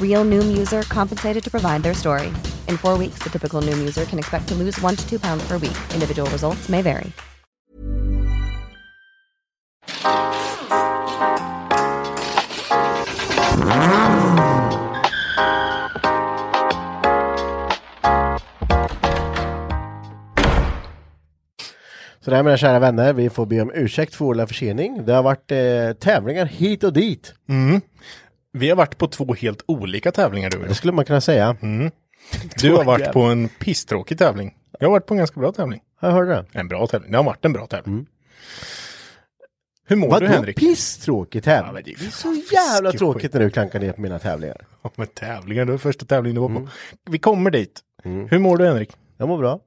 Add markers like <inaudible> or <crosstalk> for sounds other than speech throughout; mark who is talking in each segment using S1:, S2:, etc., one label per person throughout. S1: Real Noom user compensated to provide their story. In four weeks, the typical Noom user can expect to lose one to two pounds per week. Individual results may vary.
S2: Sådär mina kära vänner, vi får be om ursäkt för vår försening. Det har varit eh, tävlingar hit och dit.
S3: Mm. Vi har varit på två helt olika tävlingar du och
S2: Det
S3: jag. Mm.
S2: skulle man kunna säga.
S3: Du har varit på en pisstråkig tävling. Jag har varit på en ganska bra tävling.
S2: Jag hörde det.
S3: En bra tävling. Det har varit en bra tävling. Hur mår
S2: Mm.
S3: du
S2: Vadå
S3: Henrik?
S2: pisstråkig
S3: Ja,
S2: tävling?
S3: men det
S2: det
S3: är
S2: är
S3: ju
S2: så
S3: fan
S2: jävla
S3: fiskeskit.
S2: tråkigt när du klankar ner på mina tävlingar.
S3: Ja, men tävlingar, det var första tävlingen du var
S2: Mm.
S3: på. Vi kommer dit. Hur mår du Henrik?
S2: Jag mår bra.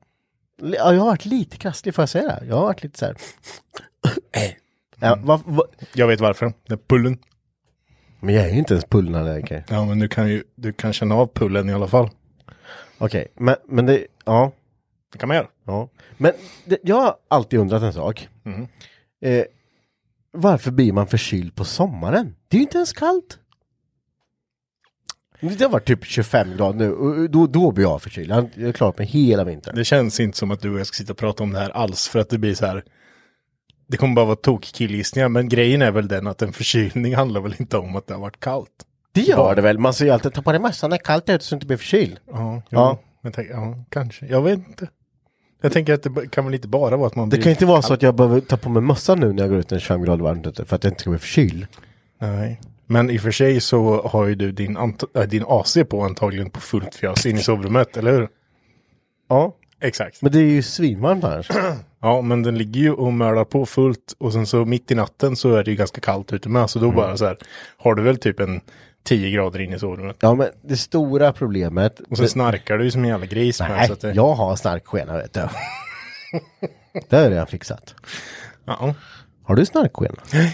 S2: Li- Ja, jag har varit lite krasslig, får jag säga det? Jag har varit lite
S3: <coughs>
S2: så här. ja, vad- vad-
S3: Jag vet varför. Det är pullen.
S2: Men jag är ju inte ens pullenallergiker.
S3: Ja, men du kan ju du kan känna av pullen i alla fall.
S2: Okej, men, men det, ja.
S3: Det kan man göra.
S2: Ja, men det, jag har alltid undrat en sak.
S3: Mm.
S2: Eh, varför blir man förkyld på sommaren? Det är ju inte ens kallt. Det har varit typ 25 grader nu och då, då blir jag förkyld. Jag har- Jag har klarat mig hela vintern.
S3: Det känns inte som att du och jag ska sitta och prata om det här alls för att det blir så här. Det kommer bara vara tokkillgissningar, men grejen är väl den att en förkylning handlar väl inte om att det har varit kallt.
S2: Det gör det väl? Man säger ju alltid ta på dig mössan när det är kallt ute så du inte blir förkyld.
S3: Ja,
S2: Ja.
S3: ja. Men tänk, ja, kanske. Jag vet inte. Jag tänker att det b- kan väl inte bara vara att man
S2: Det
S3: blir
S2: kan inte vara så att jag behöver ta på mig mössan nu när jag går ut när det är 25 grader varmt ute för att jag inte ska bli förkyld.
S3: Nej. Men i och för sig så har ju du din, ant- äh, din AC på antagligen på fullt fjas in i sovrummet, eller hur?
S2: Ja,
S3: Exakt.
S2: men det är ju svinvarmt
S3: <clears throat>
S2: annars.
S3: Ja, men den ligger ju och mölar på fullt och sen så mitt i natten så är det ju ganska kallt ute med.
S2: Mm.
S3: Så då bara så här, har du väl typ en 10 grader in i sovrummet.
S2: Ja, men det stora problemet.
S3: Och sen snarkar du ju som en jävla gris. med,
S2: Nej,
S3: så att det,
S2: jag har snarkskena vet du. det har jag redan fixat.
S3: Ja,
S2: Har du snarkskena?
S3: ja,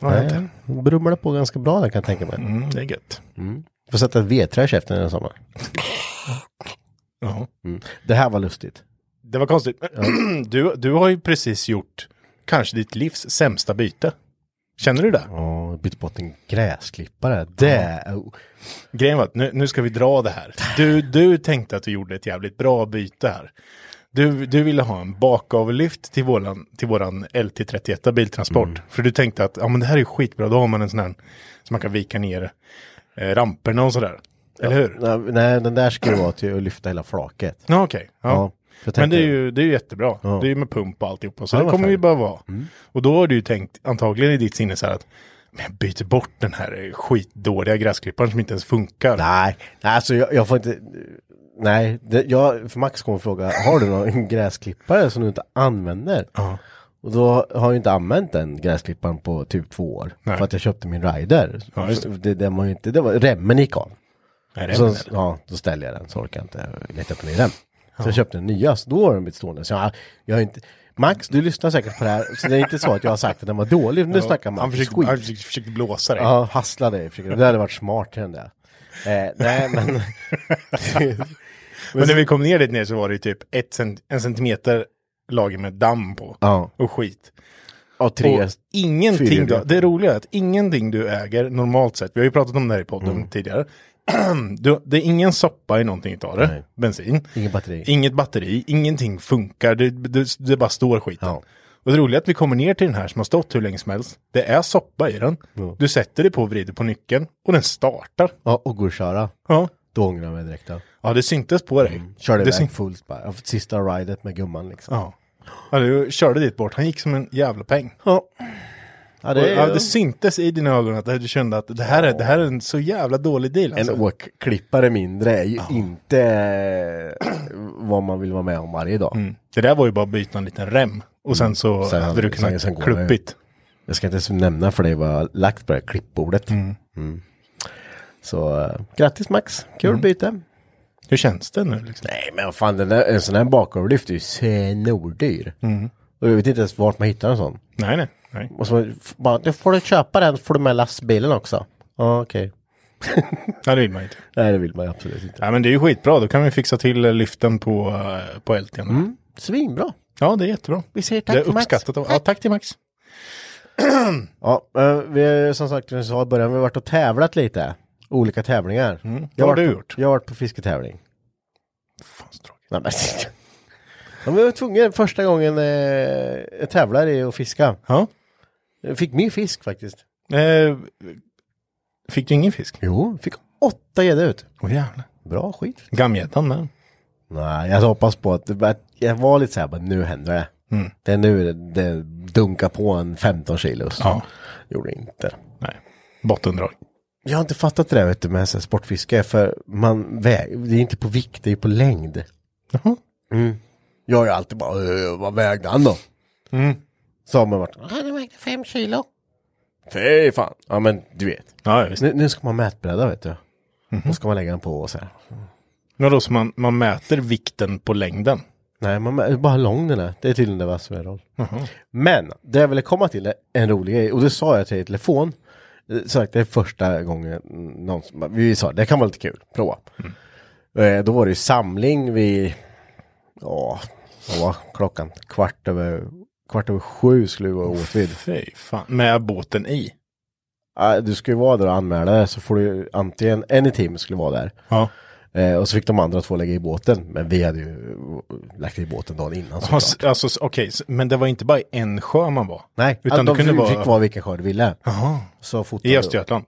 S3: jag vet inte.
S2: Då brummar det på ganska bra där kan jag tänka mig.
S3: Mm, det är gött.
S2: Får sätta ett vedträ i käften den sommaren.
S3: Ja.
S2: Det här var lustigt.
S3: Det var konstigt. <clears throat> Du, du har ju precis gjort kanske ditt livs sämsta byte. Känner du det?
S2: Ja, jag bytte bort en gräsklippare. Det... Oh.
S3: Grejen var att nu, nu ska vi dra det här. Du, du tänkte att du gjorde ett jävligt bra byte här. Du, du ville ha en bakavlyft till våran, till våran LT31 biltransport. För du tänkte att ja, men det här är ju skitbra, då har man en sån här som man kan vika ner eh, ramperna och sådär. Eller hur?
S2: Nej, Nej, den där skulle vara till att lyfta hela flaket.
S3: Ja, okej. Ja.
S2: Ja, jag
S3: men det är,
S2: tänkte-
S3: ju, det är ju jättebra.
S2: Ja.
S3: Det är ju med pump och alltihopa. Så
S2: Ja,
S3: det
S2: vad Mm.
S3: kommer
S2: fan.
S3: ju bara vara. Och då har du ju tänkt, antagligen i ditt sinne så här att men jag byter bort den här eh, skitdåliga gräsklipparen som inte ens funkar.
S2: Nej, nej alltså jag, jag får inte... Nej, det, jag, för Max kommer fråga, har du någon <laughs> gräsklippare som du inte använder?
S3: Ja.
S2: Och då har jag ju inte använt den gräsklipparen på typ två år.
S3: Nej.
S2: För att jag köpte min Rider.
S3: Ja, just det.
S2: det, den var ju inte, det var, remmen gick av.
S3: Nej, det
S2: Och
S3: är
S2: så,
S3: väl-
S2: ja, då ställde jag den så orkar jag inte leta upp en ny rem. Så jag köpte en nya, så då har den blivit stående. Så jag, jag har inte... Max, du lyssnar säkert på det här, så det är inte så att jag har sagt att den var dålig. Nu snackar Max
S3: han försökte,
S2: skit.
S3: han försökte, försökte blåsa dig.
S2: Ja, hassla dig. Försöker. Det hade varit smart, den där. Eh, nej, men... <laughs>
S3: Men när vi kom ner dit ner så var det ju typ ett cent en centimeter lager med damm på.
S2: Ja.
S3: Och skit.
S2: Och tre...
S3: och ingenting,
S2: fyrhjulingar.
S3: du, det roliga är att ingenting du äger normalt sett, vi har ju pratat om det här i podden
S2: Mm.
S3: tidigare, <clears throat> du, det är ingen soppa i någonting utav det,
S2: Nej.
S3: bensin.
S2: Ingen batteri.
S3: Inget batteri, ingenting funkar, det, det, det bara står skiten.
S2: Ja.
S3: Och det roliga är att vi kommer ner till den här som har stått hur länge som helst, det är soppa i den, du sätter dig på och vrider på nyckeln och den startar.
S2: Ja, och går att köra.
S3: Ja,
S2: Då ångrar jag mig direkt. Då.
S3: ja det syntes på dig.
S2: Mm. Körde
S3: det
S2: iväg
S3: syn-
S2: fullt bara. Jag fick Sista ridet med gumman liksom.
S3: Ja. ja, du körde dit bort, han gick som en jävla peng.
S2: Ja. Ja,
S3: Det,
S2: det
S3: ja,
S2: är
S3: det syntes i dina ögon att du kände att det här är, det här är en så jävla dålig deal.
S2: en
S3: Alltså.
S2: åkklippare mindre är ju inte <clears throat> eh, vad man vill vara med om varje dag.
S3: Mm. Det där var ju bara att byta en liten rem. Och sen så
S2: Mm. Sen-
S3: hade du kunnat
S2: sen- sen går det ju.
S3: klumpigt.
S2: Jag ska inte ens nämna för dig vad jag har lagt på det här klippbordet. Mm. Så eh, grattis Max, kul byte.
S3: Hur känns det nu? Liksom?
S2: Mm. Nej men vad fan, den där, en sån här bakoverlyft är ju snordyr. Mm. Och jag vet inte ens vart man hittar en sån.
S3: Nej, nej, nej.
S2: Och så f- bara, nu får du köpa den, så får du med lastbilen också. Ja okej.
S3: Nej, det vill man inte.
S2: Nej det vill man ju absolut inte.
S3: Ja, men det är ju skitbra. Då kan vi fixa till eh, lyften på, eh, på LT'n.
S2: Mm. Svinbra.
S3: Ja, det är jättebra.
S2: Vi säger tack
S3: Det är
S2: till Max.
S3: uppskattat. Av, ja, tack till Max.
S2: Ja, eh, vi har ju som sagt, som vi sa i början, vi har varit och tävlat lite. Olika tävlingar. Jag
S3: Mm. Vad
S2: varit
S3: har du
S2: på-
S3: gjort?
S2: Jag har varit på
S3: <laughs>
S2: fisketävling.
S3: Fan, så tråkigt.
S2: Nej, men... ja, men jag var tvungen första gången eh, jag tävlar i att fiska.
S3: Ja.
S2: Jag fick mer fisk faktiskt.
S3: Eh, fick du ingen fisk?
S2: Jo, fick åtta gäddor ut.
S3: Åh jävlar.
S2: Bra skit.
S3: Gammgäddan där.
S2: Nej, jag hoppas på att, att jag var lite så här, bara, nu händer det.
S3: Mm.
S2: Det är nu det, det dunkar på en 15 kilos.
S3: Ja.
S2: Gjorde det inte.
S3: Nej. Bottendrag.
S2: Jag har inte fattat det där vet du, med så här sportfiske, för man väger, det är inte på vikt, det är på längd. Mm.
S3: Jaha.
S2: Jag har ju alltid bara, "Eh, vad vägde han då?
S3: Mm.
S2: Så har man varit, "Ah, han vägde fem kilo. Fy fan. Ja men du vet.
S3: Ja, ja, visst. Mhm.
S2: Nu, nu ska man mätbräda vet du. Då ska man lägga den på och så här.
S3: Men då så man, man mäter vikten på längden?
S2: Nej, man mär- bara hur lång den är. Det är tydligen det vad som är roll. Men det jag ville komma till är en rolig grej och det sa jag till dig i telefon. Eh, Som sagt, det är första gången någonsin. Vi sa det kan vara lite kul, prova. Eh, Då var det ju samling vid, ja, vad var klockan? Kvart över, kvart över sju skulle vi vara åtvid.
S3: Fy fan. Med båten i?
S2: Eh, Du ska ju vara där och anmäla dig så får du ju antingen, en i timmen skulle vara där.
S3: Ja.
S2: Eh, Och så fick de andra två lägga i båten. Men vi hade ju eh, lagt i båten dagen innan
S3: Ja, s- Alltså, s- okej, s- men det var inte bara i en sjö man var?
S2: Nej,
S3: utan
S2: de
S3: det kunde
S2: fick
S3: vara
S2: fick vara vilken skörd du ville.
S3: Jaha.
S2: Så fotade
S3: i
S2: du.
S3: Östergötland.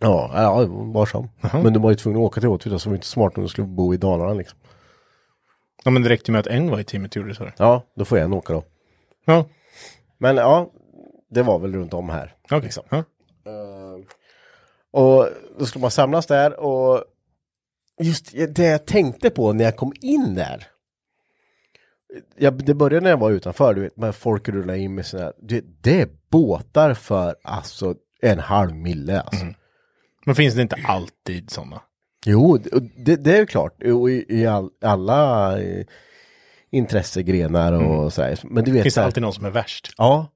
S2: Ja, ja, var som. Men du var ju tvungen att åka till Åtvid, så det var inte smart om du skulle bo i Dalarna liksom.
S3: Ja, men det räckte med att en var i teamet gjorde det. Så.
S2: Ja, då får jag en åka då.
S3: Ja,
S2: Men ja, det var väl runt om här.
S3: okej. Ja.
S2: Och då skulle man samlas där och just det jag tänkte på när jag kom in där. Jag, det började när jag var utanför, du vet, men folk rullade in med sina, det, det är båtar för alltså en halv mille alltså.
S3: Men finns det inte alltid sådana?
S2: Jo, d- och det, det är ju klart. Och i, i all, alla eh, intressegrenar och så här. Men du vet.
S3: Mm. Finns
S2: så
S3: det
S2: här,
S3: alltid någon som är värst?
S2: Ja.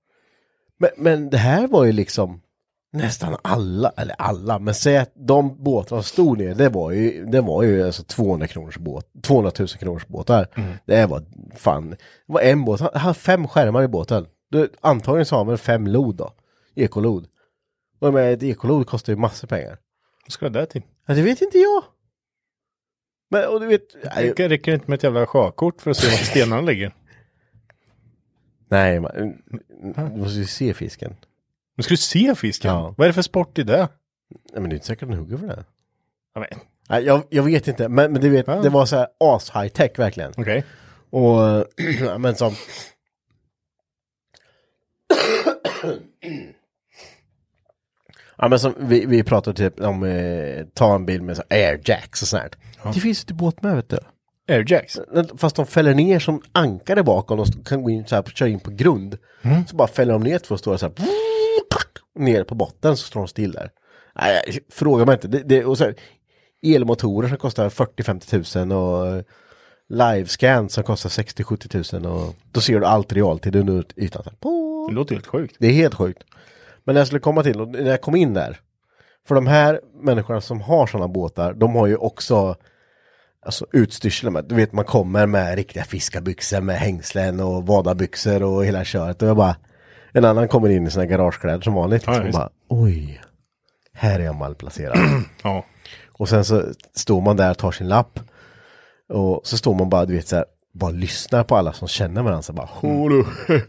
S2: Men, men det här var ju liksom nästan alla, eller alla, men säg att de båtarna som stod ner, det var ju, det var ju alltså 200 kronors båt, 200 000 kronors båtar.
S3: Mm.
S2: Det här var fan, det var en båt, han hade fem skärmar i båten. Du, antagligen så har man fem lod då, ekolod. Och jag menar, ett ekolod kostar ju massor pengar.
S3: Vad ska det där till?
S2: Ja, det vet inte jag. Men och du vet... Nej,
S3: Det räcker inte med ett jävla sjökort för att se var stenarna ligger.
S2: nej man,
S3: Mm.
S2: du måste ju se fisken.
S3: Men ska du se fisken?
S2: Ja.
S3: Vad är det för sport i det?
S2: Nej, men det är inte säkert att den hugger för det.
S3: Jag vet. Okej.
S2: Nej, jag, jag vet inte, men, men du vet,
S3: Ja.
S2: det var så här as high tech verkligen. Och, <clears throat> ja, men som... Ja men som vi, vi pratade typ om eh, ta en bil med så här airjacks och sånt här. Det finns ju inte båt med vet du.
S3: Airjacks.
S2: Fast de fäller ner som ankare bakom och de kan gå in så här, köra in på grund. Så bara fäller de ner två stora så här. Ner på botten så står de still där. Nej, jag- fråga mig inte. Det, det, och så här, elmotorer som kostar 40-50 tusen och livescan som kostar 60-70 000 och då ser du allt realtid under ytan. Så här,
S3: Det
S2: pop.
S3: låter helt sjukt.
S2: Det är helt sjukt. Men när jag skulle komma till, och när jag kom in där, för de här människorna som har sådana båtar, de har ju också alltså, utstyrsel med, du vet man kommer med riktiga fiskarbyxor med hängslen och vadabyxor och hela köret. Och jag bara, en annan kommer in i sina garagekläder som vanligt.
S3: Ja,
S2: Liksom, och
S3: visst.
S2: bara, oj, här är jag malplacerad.
S3: Ja.
S2: Och sen så står man där och tar sin lapp. Och så står man bara, du vet så här, bara lyssnar på alla som känner varandra. Så bara, "Åh,
S3: Mm.
S2: du, <laughs>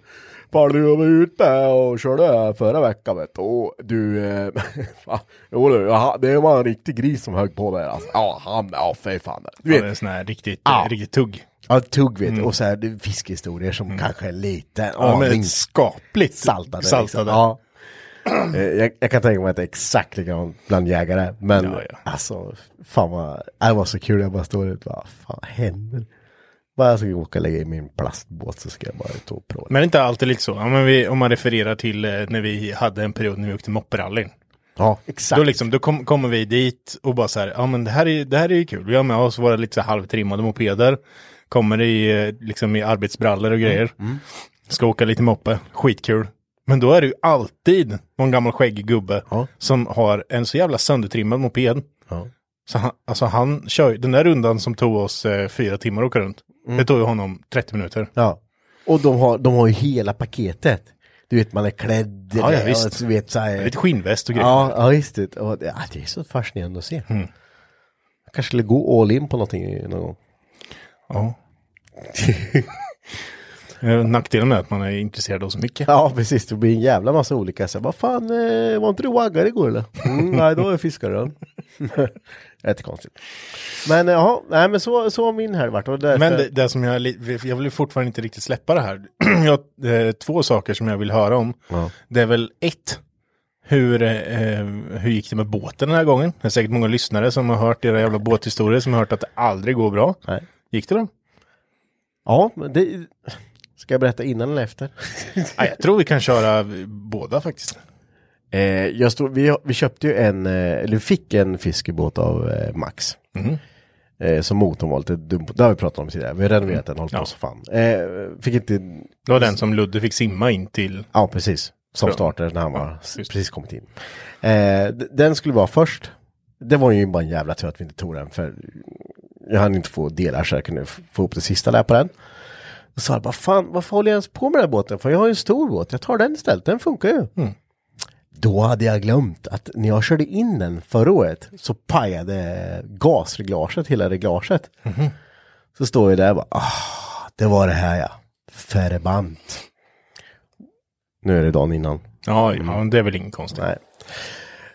S2: Fan, du jag var ute och körde här förra veckan vet du. Och du, eh, <laughs> fan, jo du, jaha, det var en riktig gris som högg på mig. Alltså, ja, han, ja, fy fan. Du
S3: Ja,
S2: vet,
S3: det är en sån här riktigt,
S2: Ja.
S3: riktigt tugg.
S2: ja, tugg vet du. Och så här, det är fiskhistorier som kanske är lite
S3: Mm. Ja, men
S2: aning
S3: skapligt
S2: saltade. liksom.
S3: saltade.
S2: Ja. Eh, jag, jag kan tänka mig att det är exakt likadant bland jägare. Men
S3: Ja, ja.
S2: alltså, fan vad, det var så kul. Jag bara står ut, vad fan händer? Bara jag ska åka och lägga i min plastbåt så ska jag bara ut och prova.
S3: Men det är inte alltid lite så. Ja, men vi, om man refererar till eh, när vi hade en period när vi åkte mopperallyn.
S2: ja, exakt.
S3: Då, liksom, då kom, kommer vi dit och bara så här, ja men det här är, det här är ju kul. Vi har med oss våra lite så här halvtrimmade mopeder. Kommer i, eh, liksom, i arbetsbrallor
S2: Mm,
S3: och grejer. Ska åka lite moppe, skitkul. Men då är det ju alltid någon gammal skäggig gubbe
S2: Ja.
S3: som har en så jävla söndertrimmad moped.
S2: Ja.
S3: Så han, alltså han kör ju- den där rundan som tog oss eh, fyra timmar att åka runt. Det tog ju honom 30 minuter.
S2: Mm. Ja. Och de har, de har ju hela paketet. Du vet, man är klädd.
S3: Ja, ja,
S2: och
S3: visst.
S2: Du vet, så här,
S3: Lite skinnväst och grejer. Mm.
S2: ja, ja, visst. det. Och, det- ja, det är så fascinerande att se. Jag kanske skulle gå all in på någonting någon gång. <laughs>
S3: Ja. Eh, Nackdelen är att man är intresserad av så mycket.
S2: Ja, precis. Det blir en jävla massa olika. Så, vad fan, eh, var inte du waggare igår eller? Mm, nej, då är fiskaren. <laughs> Jättekonstigt. Men eh, ja, nej men så, så har min helg varit. Och därför,
S3: Men det, det som jag, är li- jag vill fortfarande inte riktigt släppa det här. <clears throat> jag, eh, två saker som jag vill höra om. Det är väl ett, hur, eh, hur gick det med båten den här gången? Det är säkert många lyssnare som har hört era jävla båthistorier som har hört att det aldrig går bra.
S2: Nej.
S3: Gick det då?
S2: Ja, men det... Ska jag berätta innan eller efter?
S3: Nej, jag tror vi kan köra eh, båda faktiskt.
S2: Eh, jag stod, vi, vi köpte ju en, eh, eller vi fick en fiskebåt av eh, Max.
S3: Mhm.
S2: Eh, som motorn var lite dum på. Det har vi pratat om tidigare. Vi har renoverat den, hållit på
S3: Ja.
S2: så fan. Eh, fick inte
S3: Det var den som Ludde fick simma in till.
S2: Ja, precis. Som
S3: Tror jag.
S2: startade när han var,
S3: just.
S2: precis kommit in. Eh, d- den skulle vara först. Det var ju bara en jävla tur att vi inte tog den för jag hann inte få delar så jag kunde f- få upp det sista där på den. Och sa jag bara, fan varför håller jag ens på med den här båten? För jag har ju en stor båt, jag tar den istället, den funkar ju. Då hade jag glömt att när jag körde in den förra året så pajade gasreglaget, hela reglaget. Så står jag där och bara, ah, det var det här ja. Förbant. Nu är det dagen innan.
S3: Ja, ja det är väl ingen konstigt.
S2: Mm. Nej.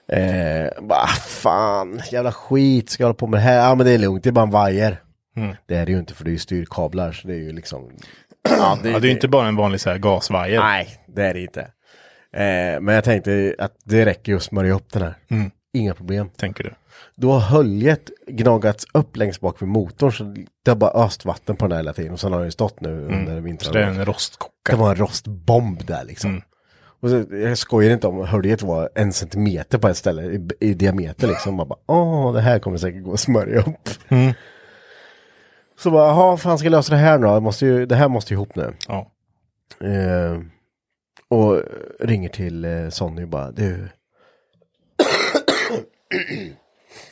S2: Eh, bara fan, jävla skit ska jag hålla på med det här? Ja men det är lugnt, det är bara en vajer.
S3: Mm.
S2: Det är det ju inte för det är ju styrkablar så det är ju liksom. Ja
S3: Ja, det är ju inte bara en vanlig så här gasvajer.
S2: Nej, det är det inte. Eh, men jag tänkte att det räcker ju att smörja upp den här.
S3: Mm.
S2: Inga problem.
S3: Tänker du.
S2: Då har höljet gnagats upp längst bak vid motorn så det har bara öst vatten på den här hela tiden och sen har den ju stått nu under
S3: Mm. Så
S2: vintern.
S3: det är en rostkoka.
S2: Det var en rostbomb där liksom. Och så, jag skojar inte om höljet var en centimeter på ett ställe i, i diameter liksom. Man bara, åh, det här kommer säkert gå att smörja upp. Så bara, jaha, fan ska jag lösa det här nu då? Jag måste ju, det här måste ju ihop nu.
S3: Ja.
S2: Eh, och ringer till eh, Sonny och bara, du. <clears throat>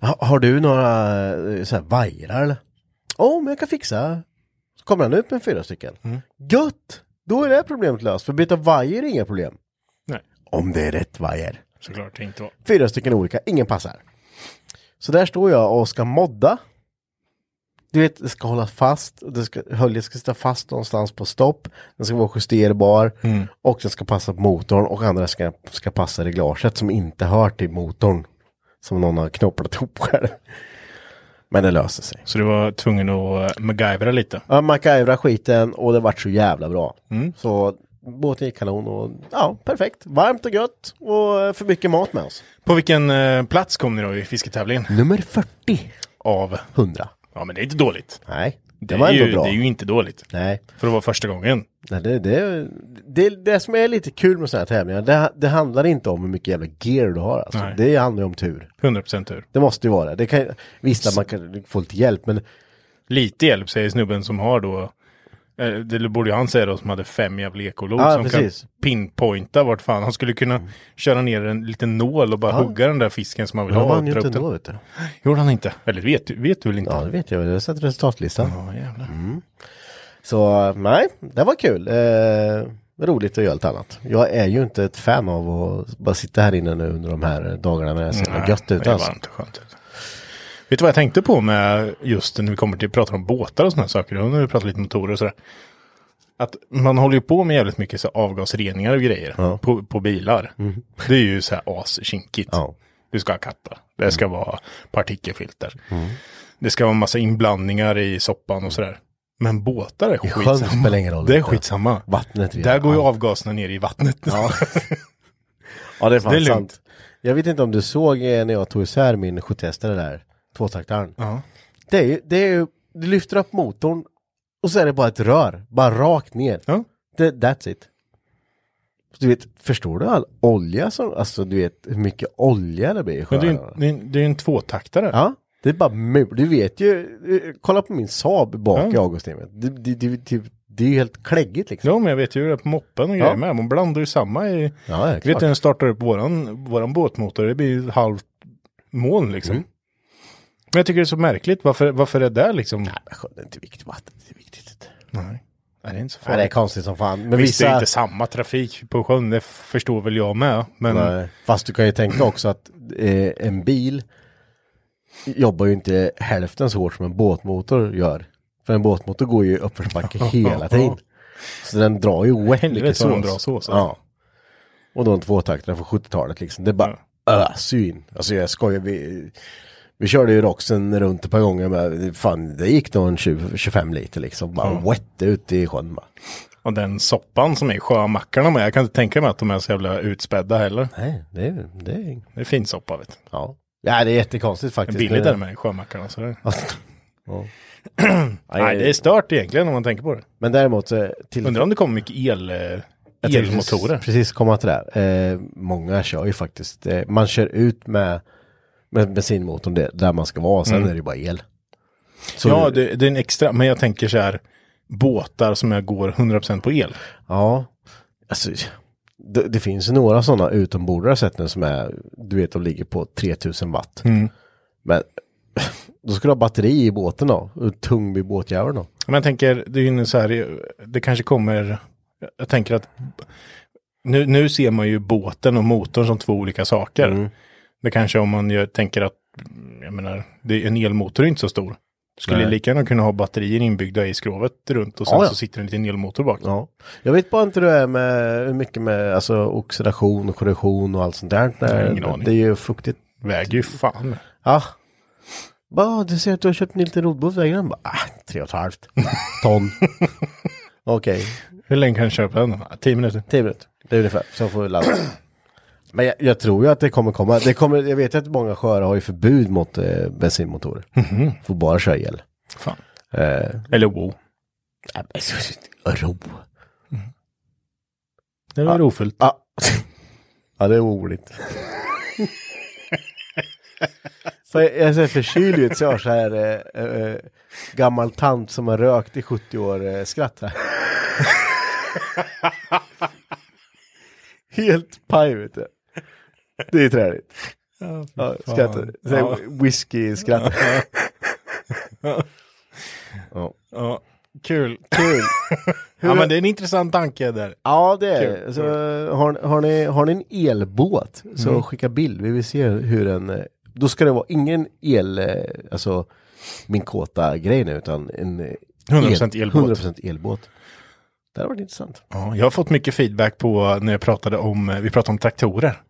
S2: ha, har du några eh, så här vajrar eller? Åh, men jag kan fixa. Så kommer han ut med fyra stycken. Gött! Då är det här problemet löst, för byta vajer är inga problem.
S3: Nej,
S2: Om det är rätt vajer.
S3: såklart det inte var.
S2: Fyra stycken olika, ingen passar. Så där står jag och ska modda. Du vet, det ska hålla fast, och det ska, höljet ska sitta fast någonstans på stopp, den ska vara justerbar och den ska passa på motorn och andra ska, ska passa reglaget som inte hör till motorn. Som någon har knopplat ihop själv. Men det löser sig.
S3: Så du var tvungen att eh, MacGyvera lite.
S2: Ja, MacGyvra skiten och det vart så jävla bra. Så båten gick kanon och ja, perfekt. Varmt och gött och eh, för mycket mat med oss.
S3: På vilken eh, plats kom ni då i fisketävlingen?
S2: Nummer 40.
S3: Av?
S2: 100.
S3: Ja, men det är inte dåligt.
S2: Nej, det,
S3: Det,
S2: var
S3: är,
S2: ändå
S3: ju,
S2: bra.
S3: det är ju inte dåligt.
S2: Nej,
S3: För det var första gången.
S2: nej det, det, det, det som är lite kul med sådana här tävlingar, det, det handlar inte om hur mycket jävla gear du har. Alltså.
S3: Nej.
S2: Det handlar ju om tur.
S3: 100% tur.
S2: Det måste ju vara det. det kan, visst, att man kan få lite hjälp, men
S3: lite hjälp, säger snubben som har då, eh, det borde ju han säga då, som hade fem jävla ekolod
S2: Ja,
S3: som
S2: precis. Mm.
S3: kan pinpointa vart fan. Han skulle kunna köra ner en liten nål och bara
S2: Ja.
S3: hugga den där fisken som han vill
S2: Men han
S3: ha. och
S2: vann ju
S3: dra
S2: inte
S3: upp den.
S2: ändå vet du.
S3: Gjorde han inte? Eller vet, du- vet du väl inte?
S2: Ja, det vet jag. Jag har sett resultatlistan.
S3: Ja, jävlar.
S2: Så nej, det var kul. Eh, roligt att göra allt annat. Jag är ju inte ett fan av att bara sitta här inne nu under de här dagarna när det ser
S3: Nej,
S2: gött ut.
S3: Mm. Det är
S2: Alltså.
S3: varmt och skönt. ut. Vet du vad jag tänkte på med just när vi kommer till pratar om båtar och sådana saker. Och när vi pratar lite motorer och sådär. Att man håller ju på med jävligt mycket så avgasreningar och grejer på, på bilar. Det är ju så här askinkigt.
S2: Mm. Ja. Mm.
S3: Du ska ha katta. Det ska vara partikelfilter. Det ska vara massa inblandningar i soppan och sådär. Men båtar är
S2: sjön
S3: skitsamma.
S2: spelar ingen roll.
S3: det är skitsamma.
S2: Vattnet vet
S3: Där
S2: jag.
S3: går ju
S2: Ja.
S3: avgaserna ner i vattnet. <laughs>
S2: Ja. Ja, det är fan
S3: Det är lugnt.
S2: sant. Jag vet inte om du såg eh, när jag tog isär min 70 där, tvåtaktaren.
S3: Ja.
S2: Det är ju, det är ju, du lyfter upp motorn och så är det bara ett rör, bara rakt ner.
S3: Ja.
S2: Det, that's it. Du vet, förstår du all olja som, alltså du vet hur mycket olja det blir i
S3: Men det är ju
S2: sjöarna?
S3: en, det är en, det är ju en tvåtaktare.
S2: Ja, det är bara mul. Du vet ju, eh, kolla på min Saab bak
S3: Ja.
S2: i avgassystemet. Det, det, det, det, det är ju helt kläggigt liksom.
S3: Ja, men jag vet ju hur det är på moppen och grejer
S2: Ja.
S3: med. Man blandar ju samma i...
S2: Ja, det är
S3: vet du,
S2: klart.
S3: när den startar upp våran, våran båtmotor, det blir ju ett halvt moln liksom.
S2: Mm.
S3: Men jag tycker det är så märkligt, varför, varför är det där liksom? Nej.
S2: Sjön är inte viktigt, vattnet är viktigt.
S3: Nej. det är inte så
S2: Ja, det är
S3: farligt.
S2: konstigt som fan. Men
S3: Visst, det är ju
S2: vissa...
S3: inte samma trafik på sjön, det förstår väl jag med. Men
S2: Nej. Fast du kan ju tänka också att eh, en bil jobbar ju inte hälften så hårt som en båtmotor gör. För en båtmotor går ju i uppförsbacke
S3: <laughs>
S2: hela tiden. Så den drar ju wet mycket
S3: Helvete vad
S2: sås.
S3: den drar alltså. sås,
S2: Ja. Och då en tvåtaktare från 70-talet liksom. Det är bara öser ju in. Alltså jag skojar. Vi, vi körde ju Roxen runt ett par gånger. Men fan, det gick nog en 20, 25 liter liksom. Bara wet ut i sjön bara.
S3: och den soppan som är i sjömackarna med, jag kan inte tänka mig att de är så jävla utspädda heller.
S2: Nej, det är... Det är
S3: Det är fin soppa vet du.
S2: ja. ja, det är jättekonstigt
S3: Det är
S2: faktiskt. Alltså,
S3: billigt där med sjömackarna. Så det...
S2: <laughs> Ja.
S3: <clears throat> Nej, det är stört egentligen om man tänker på det.
S2: Men däremot, så till
S3: Undrar om det kommer mycket el, eh,
S2: jag tänkte
S3: elmotorer.
S2: Precis, precis komma till det. här. Eh, många kör ju faktiskt, eh, man kör ut med, med bensinmotorn där, där man ska vara,
S3: Mm.
S2: sen är det ju bara el. Så,
S3: ja, det, det är en extra, men jag tänker så här, båtar som jag går 100% på el.
S2: ja. Alltså, det, det finns ju några sådana utombordare jag har sett nu som är, du vet, de ligger på 3000 watt.
S3: Mm.
S2: Men <sniffs> då ska du ha batteri i båten då, och tung vid båtjäveln då.
S3: Men jag tänker, det är ju en så här, det kanske kommer, jag tänker att nu, nu ser man ju båten och motorn som två olika saker.
S2: Mm.
S3: Det kanske om man gör, tänker att, mm, jag menar, det, en elmotor är inte så stor. Skulle
S2: Nej. Ah,
S3: lika gärna kunna ha batterier inbyggda i skrovet runt och sen
S2: Ja, ja.
S3: så sitter en liten elmotor bak.
S2: Ja. Jag vet bara inte hur det är med, hur mycket med alltså, oxidation och korrosion och allt sånt där.
S3: har ingen aning.
S2: Eh, Det är ju fuktigt
S3: Väger ju fan.
S2: Ja. Bara, du ser att du har köpt en liten rodbåt väger den? Bara, Ah, tre och ett halvt <laughs> ton. Okej,
S3: Hur länge kan du köpa den? då? Tio minuter.
S2: tio minuter. Det är ungefär, så får vi ladda. Men jag, jag tror ju att det kommer komma. Det kommer, jag vet att många sjöar har ju förbud mot eh, bensinmotorer. Får bara köra el.
S3: Fan.
S2: Eh,
S3: Eller wow.
S2: nej, men så- ro.
S3: Det var rofullt.
S2: Ah. <laughs> ja, det är oroligt. <laughs> Så jag jag ser förkyld ut, så jag har så här eh, eh, gammal tant som har rökt i 70 år eh, skratt här. Helt paj vet du. Det är träligt. Ja, skrattar. Så här Whisky-skratt.
S3: Ja, kul. <laughs>
S2: Kul.
S3: Ja, men det är en intressant tanke där.
S2: Ja, det är det. Så, har, har, ni, har ni en elbåt så skicka bild. Vi vill se hur en... eh, Då ska det vara ingen el, eh, alltså min kåta grej nu, utan en eh,
S3: 100% elbåt.
S2: 100% elbåt. Det hade varit intressant.
S3: Ja, jag har fått mycket feedback på när jag pratade om, eh, vi pratade om traktorer.